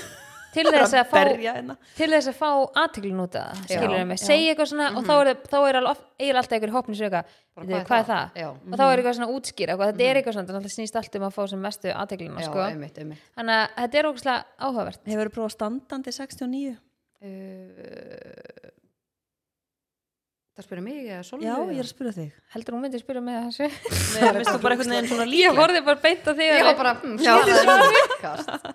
C: til
A: Bara
C: þess að fá
A: berja hérna.
C: til þess að fá aðteglun út af það skilur
B: Já. Mhm.
C: mig, segja eitthvað svona og þá er, það- þá er alveg oft- eiginlega alltaf einhver hópni sem er eitthvað,
B: Bara,
C: "Veitu, hvað er það?
B: Já. mhm.
C: og þá er eitthvað svona útskýra eitthvað, þetta er eitthvað svona, þannig að það snýst allt um að fá sem mestu aðteglun
B: Já,
C: sko.
B: einmitt, einmitt.
C: þannig að þetta er ógæslega áhugavert
A: hefur þú prófað standandi 69
B: Uh, það spyrir mig eða Solveig?
A: já, ég er að spyrja þig
C: heldur hún myndi spyrja með þessu
A: Nei, veist þú bara einhvern veginn svona
C: ég
A: líkleg
C: horfði bara beint á þig
B: Já,
C: alveg.
B: bara, hm, svar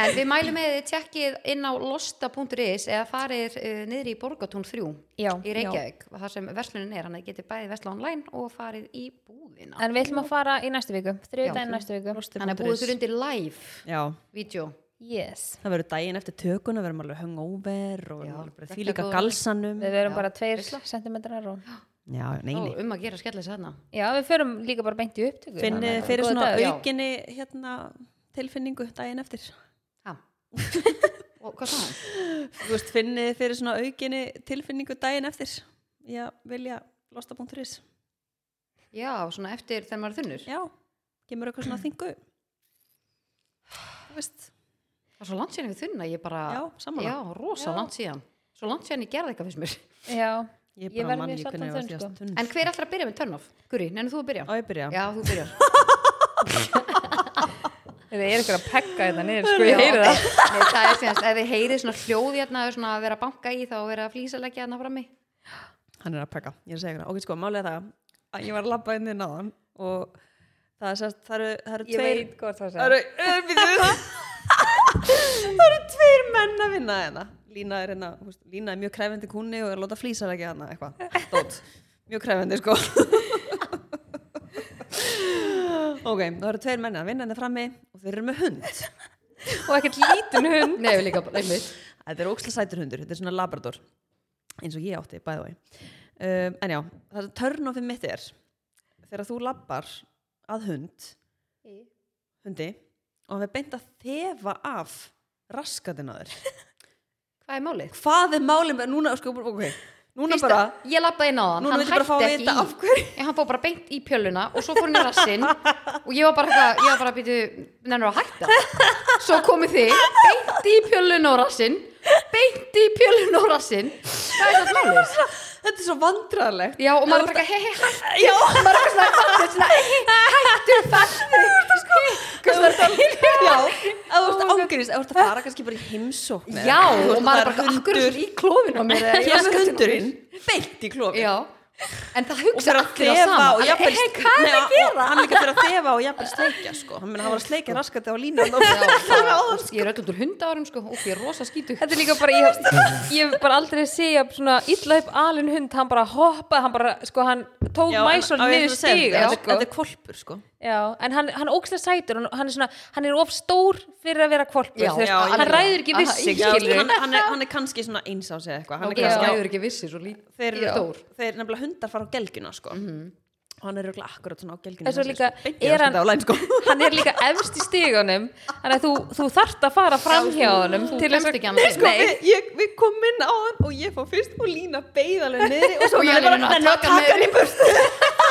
B: En við mælum með þið tjekkið inn á losta.is eða farir uh, niður í Borgatún 3
C: Já,
B: í
C: já.
B: Reykjavík, þar sem verslunin er, hann getið bæðið versla online og farið í búðina.
C: en við ætlum að fara í næstu viku þriðdæn
B: Já.
C: næstu viku
B: Þannig að búið þurr undir live
A: já,
B: vídeo.
C: yes.
A: það verður daginn eftir tökuna verðum alveg hungover og verðum alveg bara
B: þetta
A: því líka
B: góður.
A: galsanum
C: við verum
B: Já.
C: bara 2 centimetrar og...
A: já, neini
B: Um að gera skella þess aðna.
C: já, við förum líka bara beint í upptöku
A: finni
C: þannig að-
A: fyrir
C: Góður
A: svona
C: dagur.
B: Já.
A: aukinni hérna, tilfinningu daginn eftir
B: Ha. og hvað sá hann?
A: þú veist, finnið þið fyrir svona aukinni tilfinningu daginn eftir já, vilja losta.is
B: Já, svona eftir þegar maður er þunnur.
A: já, kemur eitthvað svona þingu þú veist,
B: Það er svo langt síðan við þunna, ég bara...
A: já,
B: Já,
A: samanlega
B: rosa
C: Já.
B: langt síðan. Svo langt síðan ég gerði eitthvað fyrst mér.
C: já,
A: ég
C: Ég
A: bara
C: verð
A: mann
C: mjög
A: ekki
C: sátt
A: hvernig
C: á
A: ég var
C: þau,
A: síðast tunn
B: En hver ætlar að byrja með turn-off? Guri, nefnir þú að byrja?
A: á ég byrja,
B: Já, þú byrjar.
C: Það er ykkur að pekka þetta niður,
B: Já,
C: sko, ég heyri það.
B: ok. Nei, það er síðan, ef þið heyrið svona hljóð hérna, svona að vera að banka í þá og vera að flýsa leggja hérna frammi.
A: hann er að pekka, ég er að segja hérna ok, sko, málið er það, að ég var að labba inn í náðan og það er sérst, það eru, það eru tveir
C: hvort það
A: Það eru, eh, býttu. það eru tveir menn að vinna hérna. Lína er hérna, þú veist, Lína er mjög kræfandi kúnni og er að láta flýsar ekki hérna eitthvað. Dótt. Mjög kræfandi sko. ok, það eru tveir menn að vinna hérna frammi og þeir eru með hund.
C: Og ekkert lítinn hund.
B: Nei, við líka, einmitt.
A: Þetta er óksla sætur hundur, þetta er svona labrador. Eins og ég átti, by the way. Um, en já, það er törnofið mitt er þegar þú labbar að hund, hundi, og hann er beint að þefa af raskatinn að þér.
B: Hvað er málið?
A: hvað er málið með núna sko, ok, núna
B: Fyrst
A: bara
B: að- ég lappa inn á hann,
A: Núna
B: hann
A: veit ég bara fá að
B: hætti ekki
A: vita af
B: í ég, hann fór bara beint í pjöluna og svo fór hann í rassinn og ég var bara eitthvað, ég var bara að býtu nennur að hætta svo komið þið beint í pjöluna og rassinn beint í pjöluna og rassinn hvað er þetta málið?
A: þetta er svo vandræðalegt
B: Já, og maður bara eitthvað, hei, hei, hættu
A: já,
B: maður er eitthvað svona, fattu, svona, hei, hættu, fattu
A: sko- Hvað er þetta? Já, að þú ert ángurist, að þú ert að fara kannski bara í heimsókn eða
B: Já,
A: eitthvað, um- þú
B: og
A: veist,
B: maður
A: það
B: bara
A: er
B: akkur
A: um hundur-
B: í klófinu á mér eða ég
A: Hér
B: raskatunum.
A: er hundurinn, beint í klófin
B: Já, en það
A: og
B: hugsa
A: fyrir að
B: allir á
A: þefa
B: sama
A: og jafnvel
B: Hei, hvað er
A: Nei,
B: það að gera?
A: og hann líka fyrir að þefa og jafnvel sleikja sko hann meina hann var að sleikja raskandi á línu og
B: Já,
A: það
B: bara, Ég er öllum úr hundaárum sko og ég er rosa skítu
C: Þetta er líka bara, ég hef- ég hef bara aldrei séð jafn svona illa upp alin hund, hann bara hoppaði, hann bara, sko, hann tók
A: Já, en-
C: mæsól
A: á, ég
C: niður
A: ætla að segja,
C: stíga,
A: þetta-
C: sko.
A: þetta er kvolpur sko
C: Já, en hann, hann ókslega sætur, hann, hann er svona, hann er of stór fyrir að vera kvolpur,
B: Já,
C: þú veist,
A: já,
C: hann
A: já.
C: ræður ekki við
B: Aha,
C: sig,
A: Já,
C: skilur
A: hann, hann, er, hann er kannski svona eins á sig eitthvað hann er
B: Ég
C: Já.
A: kannski á,
B: ræður ekki vissi svo lít
A: þeir,
B: Já.
A: eru- þeir nefnilega hundar fara á gelgina sko og hann er örugglega akkurat svona á gelgina
C: En svo
A: hann sé,
C: líka,
A: sko, beint í
C: er hann-
A: raskandi á læn sko
C: hann er líka efst í stígunum, þannig að þú, þú þart að fara fram hjá honum
B: þú
C: til þess
B: kemst
C: að,
B: ekki annað
C: Nei,
B: inn.
C: sko,
A: Nei. Við, ég, við komum inn á hann og ég fór fyrst og Lína beigð alveg niðri og svo
B: Og sko, ég
A: hann
B: er að
A: "Nenni
B: taka mig
A: hann í burtu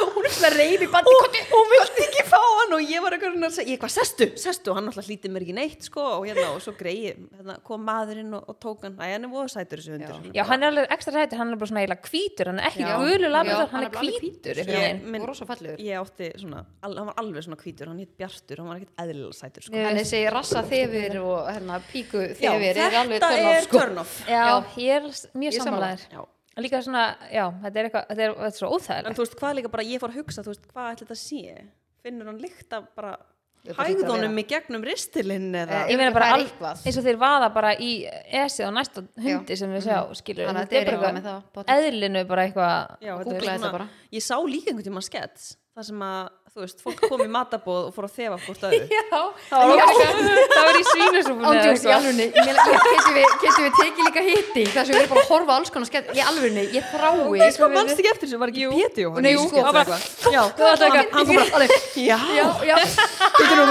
B: Hún er svona reyði bandi
A: og hún vildi ekki fá hann og ég var eitthvað svona að segja, ég hvað, sestu, sestu og hann alltaf hlítið mér ekki neitt sko og hérna og svo greið, hérna kom maðurinn og, og tók hann, æ, hann er voða sætur þessi hundur
C: já, hann er alveg ekstra hættur, hann er bara svona eiginlega hvítur, hann er ekki
B: Já.
C: gulu
B: Já,
C: labrador,
B: hann
C: hann
B: er
C: er
B: bara alveg hvítur,
C: hvítur,
B: já.
C: einhvern veginn.
A: Minn-
B: Og rosa fallegur.
A: Ég átti svona, al, hann var alveg svona hvítur, hann hitt Bjartur, hann var ekkert eðlilega sætur sko.
C: Nei,
B: En þessi rassa þefir og hérna píku
A: Já,
B: þefir er alveg
A: þetta
B: törn á
A: er
B: sko
A: turn off.
C: Já, ég er s- mjög
B: Ég er sammála.
C: samanlegaður.
A: Já.
C: Líka svona, já, þetta er eitthvað, þetta er, þetta er svo
A: En
C: óþægilegt.
A: þú veist hvað líka bara, ég fór að hugsa, þú veist hvað ætli þetta sé? Finnur hann líkt af bara
B: Þetta hlýtur að
A: hægðunum í gegnum ristilinn eða?
B: Eh,
C: Ég meina bara,
B: Það er
C: all,
B: eitthvað.
C: eins og þeir vaða bara í esið á næsta hundi sem við sjá, skilur.
B: Mhm. Þannig að
C: Þetta
B: þetta er eitthvað með það, pottet.
C: Eðlinu bara eitthvað.
A: Já, þetta er
B: Googlaði þetta
A: svona-
B: bara.
A: Ég sá líka einhvern tíma skets, þar sem að, þú veist, fólk kom í matabóð og fór að þefa hvort öðru.
C: Já, það var, það var í svínusúpunni eða
B: Ándjóks, í
C: eitthvað.
B: alvörunni, ég meina, ég- getum við, getum við tekið líka hitti þar sem við erum bara að horfa á alls konar skemmt í alvörunni, ég þrái
A: Nei, sko, mannst ekki eftir þessu, var ekki Pétur Jóhann?
B: Nei, sko,
A: í
B: jú,
A: sketi
B: það var
A: eitthvað? Já, hann
B: það var eitthvað.
A: hann kom bara, já,
B: Já, já,
A: þetta er nú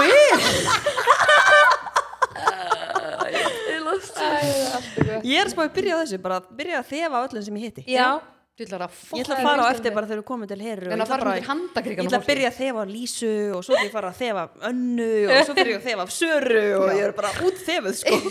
A: mig. Ég er að spá að byrja á þessu, bara að byrja að þefa á öllum sem ég hitti.
C: Já,
B: þú ætlar að
A: Ég
B: fokka
A: ætla að fara á eftir bara þegar við komum til herru og ég
B: En að
A: ætla
B: fara
A: bara-
B: undir
A: Ég
B: handakrikan á
A: ætla að
B: fólki.
A: byrja að þefa af Lísu og svo ætla ég að fara að þefa af Önnu og svo fyrir ég að þefa af Söru og ég er bara út þefuð sko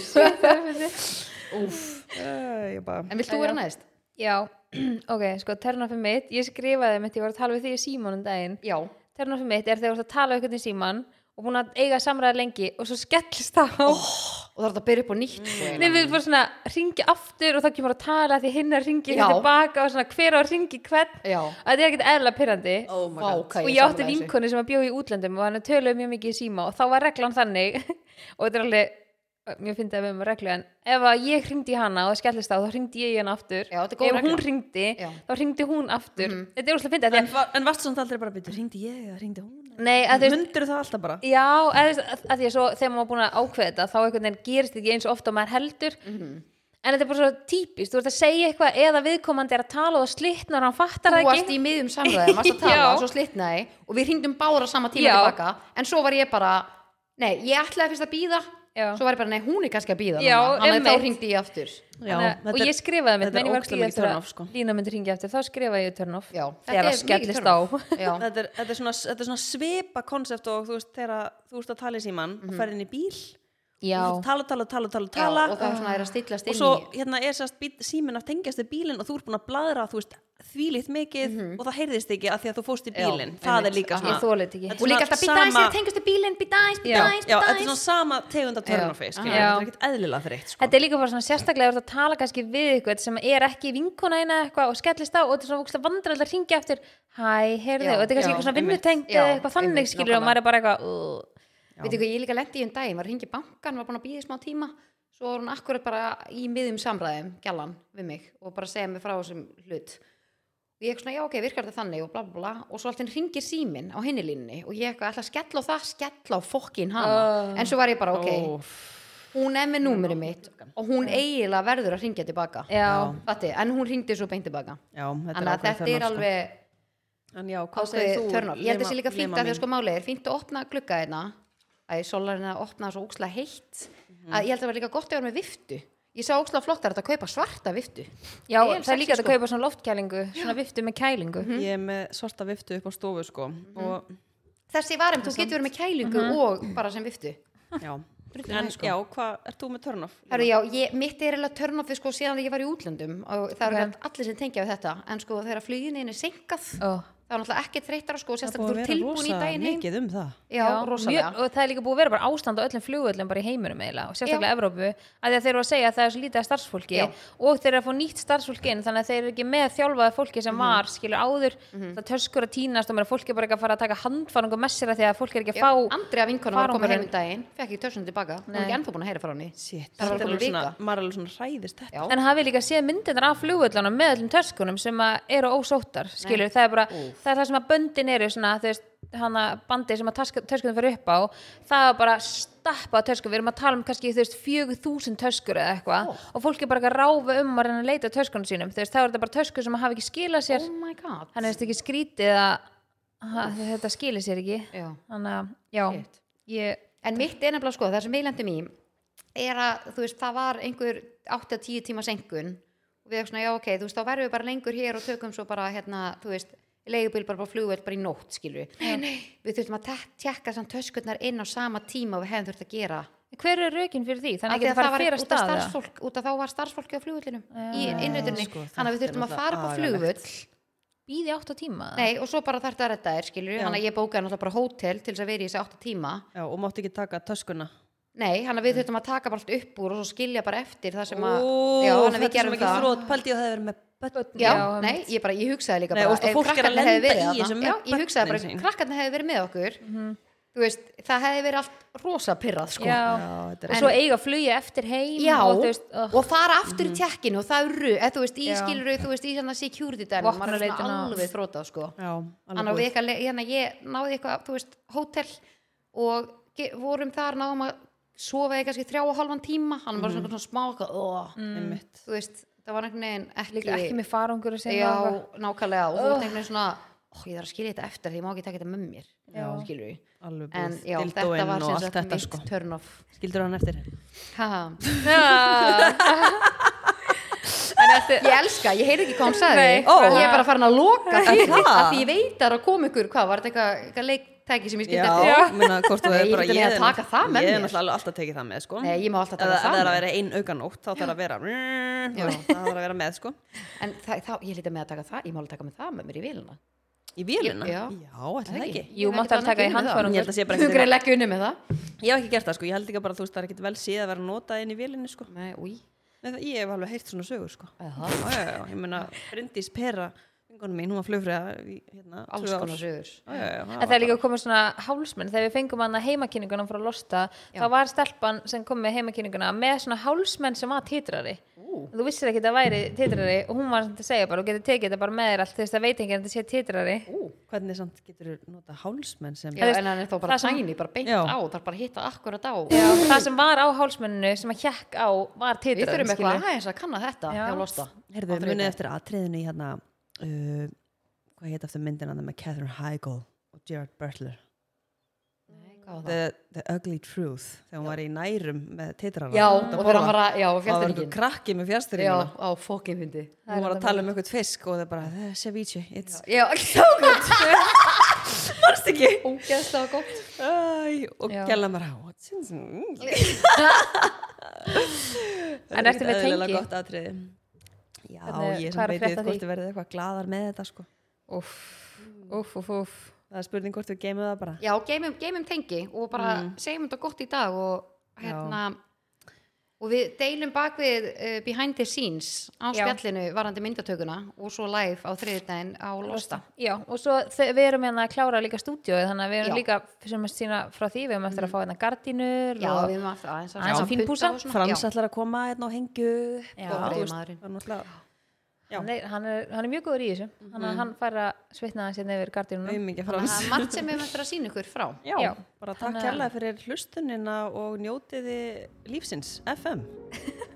B: Úf,
A: Eh, Ég bara
B: en vilt þú vera næst?
C: já, ok, sko, ternafi mitt, ég skrifaði mitt, ég var að tala við því í símanum um daginn.
B: Já,
C: Ternafi mitt er þegar þú ert að tala við einhvern í síman og búin að eiga samræða lengi og svo skellist það á.
B: og það er þetta að byrja upp á nýtt svo
C: Nei, Mm. við erum bara svona, ringi aftur og þá kemur að tala því hinn að ringi
B: Já.
C: hér tilbaka og svona hver á að ringi hvern.
B: Já.
C: Þetta er ekkert eðla pyrrandi.
A: Oh my
B: Vá,
A: god
B: hvað
C: og ég átti vinkonu sem að bjóði í útlöndum og hann töluði mjög mikið í síma og þá var reglan þannig og þetta er alveg mjög fyndið að við erum með reglu en ef að ég hringdi í hana og það skellist á þá hringdi ég í hana aftur
B: Já, þetta er góð
C: ef
B: regla.
C: hún hringdi,
B: Já. Mhm.
C: þá hringdi hún aftur þetta er úrslega fyndið
A: En,
C: en...
A: va- en varst samt aldrei bara býttu, ringdi ég eða ringdi hún
C: Nei, að þú veist,
A: Mundur það alltaf bara
C: já, að, þú veist, að, að því að svo þegar maður var búin að ákveða þetta þá einhvern veginn gerist þetta ekki eins og ofta maður heldur
B: Mhm.
C: en þetta er bara svo típist, þú ert að segja eitthvað eða viðkomandi er að tala og það slitnar og hann fattar
B: Þú
C: það
B: varst
C: ekki
B: í miðjum samræðum, varst að tala
C: Já.
B: og svo slitnaði og við hringdum bára sama tíma
C: Já.
B: tilbaka en svo var ég bara, nei, ég ætlaði fyrst að býða
C: Já.
B: svo var ég bara, nei, hún er kannski að býða
C: Já,
B: þannig að
C: einmitt.
B: þá hringdi ég aftur
A: Já,
C: Þannig, að-
A: þetta
C: og
A: er-
C: ég skrifaði mitt,
A: þetta er
C: menn ég var
A: ógeðslega mikið
C: ekki eftir
A: turn
C: að
A: off, sko.
C: Lína myndi ringja eftir, þá skrifaði ég turn off
B: Já, þetta
C: þegar
B: er
C: það skellist
B: mikið
C: á
B: turn-off. Já.
A: Þetta er, þetta, er svona, þetta er svona svipa konsept og þú veist þegar þú ert að tala í síman og ferð inn í bíl
C: Já,
A: og þú tala, tala, tala, tala,
B: Mhm.
A: tala
B: Já, og það er svona er að stilla
A: og
B: stilni
A: svo hérna er sérst bíl, síminn að tengjast við bílinn og þú ert búin að bladra þú veist þvílið mikið og það heyrðist ekki að því að þú fóst í
B: Mhm. Já,
A: bílinn það er
B: einmitt.
A: líka svona
C: Ég þoli þetta ekki.
A: Þetta er
B: og líka
A: svona
B: alltaf býta aðeins
A: sama-
B: þegar tengastu bílinn býta aðeins,
C: Já.
B: býta aðeins,
A: já,
B: býta
A: þetta er
B: aðeins
A: svona sama tegunda törnofi
B: Já.
A: þetta
C: Já.
A: er ekkert eðlilega þreytt sko.
C: þetta er líka bara svona sérstaklega þú ert að tala kannski við eitthvað sem er ekki vinkona eina eitthvað og skellist á og þetta er svona vúkslega vandræðilega að ringja eftir hæ, heyrðu,
B: Já,
C: og þetta er kannski
B: já,
C: eitthvað svona
B: einmitt.
C: vinnutengt
B: Já,
C: eða eitthvað þannig
B: einmitt,
C: skilur og
B: nákvæmlega.
C: maður er bara eitthvað "Ugh."
B: veitu hvað, ég líka lendi í um daginn, var að hringi bankan var búin að býða í smá tíma svo var hún akkurat bara í miðjum samræðum gælan við mig og bara segja mig frá þessum hlut og ég ekki svona, já ok, virkar þetta þannig og bla bla bla og svo alltaf hringir síminn á hinni línni og ég eitthvað, ætla að skella á það, skella á fokkin hana en svo var ég bara, ok, hún er með númurinn mitt og hún eiginlega verður að hringja tilbaka
C: Já,
B: Fatti, en hún hringdi svo beint tilbaka
A: já, þetta
B: þannig að
A: ákveðið
B: þetta er
A: turn-off,
B: alveg
A: sko. en já, hvað segir
B: ákveðið
A: þú?
B: törnum ég held þessi líka fínt
A: nema
B: að því að
A: mín?
B: sko málið er fínt að opna glugga hérna að sólarinn að opna svo óksla heitt
A: Mhm.
B: að ég held að það var líka gott að vera með viftu ég sá óksla flottar að þetta kaupa svarta viftu
C: já
B: Vel
C: það er líka
B: sexy,
C: að
B: sko.
C: kaupa svona loftkælingu svona viftu með kælingu
A: ég er með svarta viftu upp á stofu sko og
B: þessi varum, þú getur verið með kælingu
A: Mhm.
B: og bara sem viftu
A: já en já, hvað, ert þú með törnof?
B: Herru, já, ég, mitt er eiginlega törnofið sko síðan að ég var í útlöndum og það okay.
C: Ok.
B: eru allir sem tengja við þetta en sko þegar fluginu er senkað
C: Ó,
B: það var náttúrulega ekki þreyttar á
A: það
B: sko
A: er búið að
B: sérstaklega þú er
A: vera
B: tilbúin í
A: rosa
B: daginn heim
A: mikið um það
B: já, rosalega
C: mjög- og það er líka búið að vera bara ástand á öllum flugvöllum bara í heiminum eiginlega og sérstaklega Evrópu að því að þeir eru að segja að það er svo lítið af starfsfólki
B: Já.
C: og þeir eru að fá nýtt starfsfólki inn þannig að þeir eru ekki með þjálfaða fólki
B: Mhm.
C: sem var skilur áður, það töskur að tínast og maður er fólki bara ekki að fara að taka handfæring og messira því að fólk er ekki að
B: Já,
C: fá
B: Andrea vinkonum var
C: fara
B: að koma
C: hún
B: heim um daginn fekk ekki törsuna tilbaka, hún er ekki ennþá búin að heyra frá henni
A: Shit,
B: Það var
A: þetta er
B: komin
A: alveg svona,
B: vika.
A: maður er alveg svona hræðist þetta
B: Já.
C: en hafið líka séð myndirnar af flugvöllunum með öllum töskunum sem að eru ósóttar skilur, það er bara, það er það sem að böndin eru svona, þú veist, hana bandi sem að task- töskunum fyrir upp á, það er bara stappa á töskum, við erum að tala um kannski þú veist, 4000 töskur eða eitthvað og fólk er bara ekki að ráfa um að reyna að leita að töskunum sínum, þú veist, það eru þetta bara töskur sem að hafa ekki skilað sér,
B: oh my god
C: hann er veist ekki skrítið að að þetta skilið sér ekki
B: Já.
C: þannig að, já
B: Shit.
C: ég,
B: En mitt er nefnilega sko, það sem við lendum í er að, þú veist, það var einhver 8-10 tíma senkun og við erum svona, já ok, þú veist, þá verðum við bara lengur hér og tökum svo bara, hérna, þú veist leigubíl bara bara flugvöld bara í nótt, skilur við nei, nei. við þurfum að tek- tekka samt töskurnar inn á sama tíma og við hefum þurft að gera
C: hver er rökin fyrir því,
B: Af
C: þannig að
B: því
C: geta fara fyrir að
B: út af
C: staða
B: starfsfólk, út af þá var starfsfólki á flugvöldinum í innrýtunni,
A: sko,
B: þannig að við
A: þetta er
B: þurftum að
A: náttúrulega
B: fara upp á
A: agalegt.
B: flugvöld
C: býði átt á tíma
B: nei, og svo bara þarf það að redda þér, skilur við þannig að ég bókaði náttúrulega bara hótel til þess að vera í þessi 8 tíma
A: Já, og mátti ekki taka töskuna
B: Nei, hann að við þurftum að taka bara allt upp úr og svo skilja bara eftir það sem að
A: Mm. Ó,
B: Já, hann að við
A: þetta er svo
B: gerum
A: mikið
B: það
A: þrótt, pældi ég að það hefði verið með börn
B: Já,
C: Já,
B: nei, ég bara, ég hugsaði líka
A: Nei,
B: bara
A: og það
B: ef
A: fólk er að
B: krakkarnir
A: lenda
B: hefðu verið
A: í Mhm.
B: þarna-
A: þessu með
B: Já, ég hugsaði bara,
A: börnin sín.
B: ef krakkarnir hefði verið með okkur Þú veist, það hefði verið allt rosa pirrað, sko
C: Já.
A: þetta er
C: og svo eiga að flugja eftir heim
B: Já,
C: og
B: og,
C: þú veist, oh,
B: fara aftur
A: Mhm.
B: í tjekkinu og það eru, eða þú veist,
C: Já.
B: ég skilur þú veist, í svona security dæmi, maður er
C: Vopnaleitin
B: svona
C: og-
B: alveg þrótað, sko
A: Já,
B: Þannig
A: alveg
B: að
A: búið
B: við ekki að, hérna, ég náði eitthvað, þú veist, hótel og ge- vorum þar, náðum að sofa í kannski þrjá og halvan tíma, hann var svona, svona smá eitthvað, oh,
A: Einmitt.
B: þú veist, það var einhvern veginn ekki,
C: líka ekki með farangur að segja
B: já,
C: eitthvað.
B: nákvæmlega og þú veist einhvern veginn svona, ó, ég þarf að skilja þetta eftir því ég má ekki taka þetta með mér, skilur við
A: Alveg
B: Mm. en
A: búið,
B: já, þetta
A: dildóinn
B: var
A: og
B: sem
A: allt
B: sagt
A: þetta
B: mitt
A: sko
B: turn off
A: Skildur hann eftir?
B: haha,
C: en eftir
B: ég elska, ég heyri ekki hvað hún sagði
C: Nei,
B: Ó,
A: hvað?
B: ég er bara farin að loka því
A: það?
B: að því ég veit að það kom ykkur, hvað, var þetta eitthvað eitthvað leiktæki sem ég skildi eftir
A: Já, meina, hvort þú
B: Nei,
A: hefur
B: ég
A: bara
B: get ekki að
A: er
B: taka
A: náttúrulega-
B: það með
A: Ég er
B: mér.
A: náttúrulega alltaf tekið það með sko
B: Nei, ég má alltaf
A: Ef
B: taka
A: það
B: það
A: er að
B: með.
A: vera ein auganótt, þá þarf að vera
B: Já.
A: Já, það þarf að vera með sko
B: en það, þá, ég lítið með að taka það, ég má alveg taka með það með mér í vilina
A: Í vélina?
B: Já.
A: ætli það ekki
C: jú, máttu alveg taka í handfærum
A: Ég held að sé bara
B: þú
A: ekki
B: greið leggja unni með það
A: Ég hef ekki gert það sko, ég held ekki bara að þú veist það er ekkit vel séð að vera notað inn í vélinni sko
B: Nei, új,
A: Nei, það, ég hef alveg heyrt svona sögur sko Já, já, já, ég meina, Bryndís Pera, vingunum mín, hún var flugfræða í hérna
B: alls konar sögur
C: en það er líka komið svona hálsmenn þegar við fengum hana heimakynninguna frá Losta þá var stelpan sem kom með heimakynninguna með svona hálsmenn sem var titrari þú vissir ekki að það væri titrari og hún var svona að segja bara og getur tekið þetta bara með þér allt þú veist það veit ekki að þetta sé titrari
A: Hvernig samt getur þú nota hálsmenn sem
B: Já, en hann er þá bara
C: það sem-
B: tæni, bara beint
A: Já.
B: á, þarf bara að hitta akkurat á.
C: Já, það sem var á hálsmenninu sem að hjekk á var titrari
B: Við þurfum
C: skilur.
B: eitthvað aðeins að kanna þetta
C: Já.
B: hjá Losta.
A: Herðu, munið eftir atriðinu í hérna uh, hvað heit eftir myndina það með Catherine Heigl og Gerard Butler The, the Ugly Truth þegar hún var í nærum með titrana
B: Já, og þegar hann var að,
A: það
B: já,
A: var einhver
B: fjasturinn.
A: krakki með
B: Já,
A: fjastringuna
B: á fókin fyndi.
A: hún var að tala um eitthvað fisk og það er bara "The ceviche, it's
B: Já, svo gott.
A: varst ekki
B: Ógæðslega gott.
A: Æ, og
C: Já.
A: gæla maður á what's in mm.
C: En ertu með
A: Eðlilega
C: tengi?
A: gott atriði já,
C: Hvernig-
A: ég
C: hvað er
A: sem
C: að
A: veit
C: frétta
A: við hvort
C: því?
A: þið verðið eitthvað gladar með þetta sko
C: Úff, úff, úff, úff
A: það er spurning hvort við geymum það bara
B: Já, geymum, geymum tengi og bara segjum þetta gott í dag og hérna, og við deilum bak við uh, behind the scenes á
C: Já.
B: spjallinu varandi myndatökuna og svo live á þriðdægin á Losta.
C: Já, og svo þe- við erum hérna að klára líka stúdíóið þannig að við erum
B: Já. Mm.
C: líka sem að sína frá því, við erum eftir að fá hérna gardínur
B: Já,
C: og
B: við erum alltaf aðeins
C: Aðeins að fínpússa.
B: og svona.
A: Frans
B: Já.
A: ætlar að koma hérna og hengju upp
C: Já.
A: og þú
B: Góður
A: veist,
B: maðurinn.
A: það er náttúrulega já.
C: hann, er, hann, er, hann er mjög góður í þessu þannig
B: Mhm.
C: að hann fær að svitna hans hérna yfir gardínuna
A: auðmingja
B: Það
A: Frans
B: er margt sem við erum eftir að sína ykkur frá.
A: já,
C: Já.
A: bara takk
C: Þannig að-
A: kærlega fyrir hlustunina og njótiði lífsins FM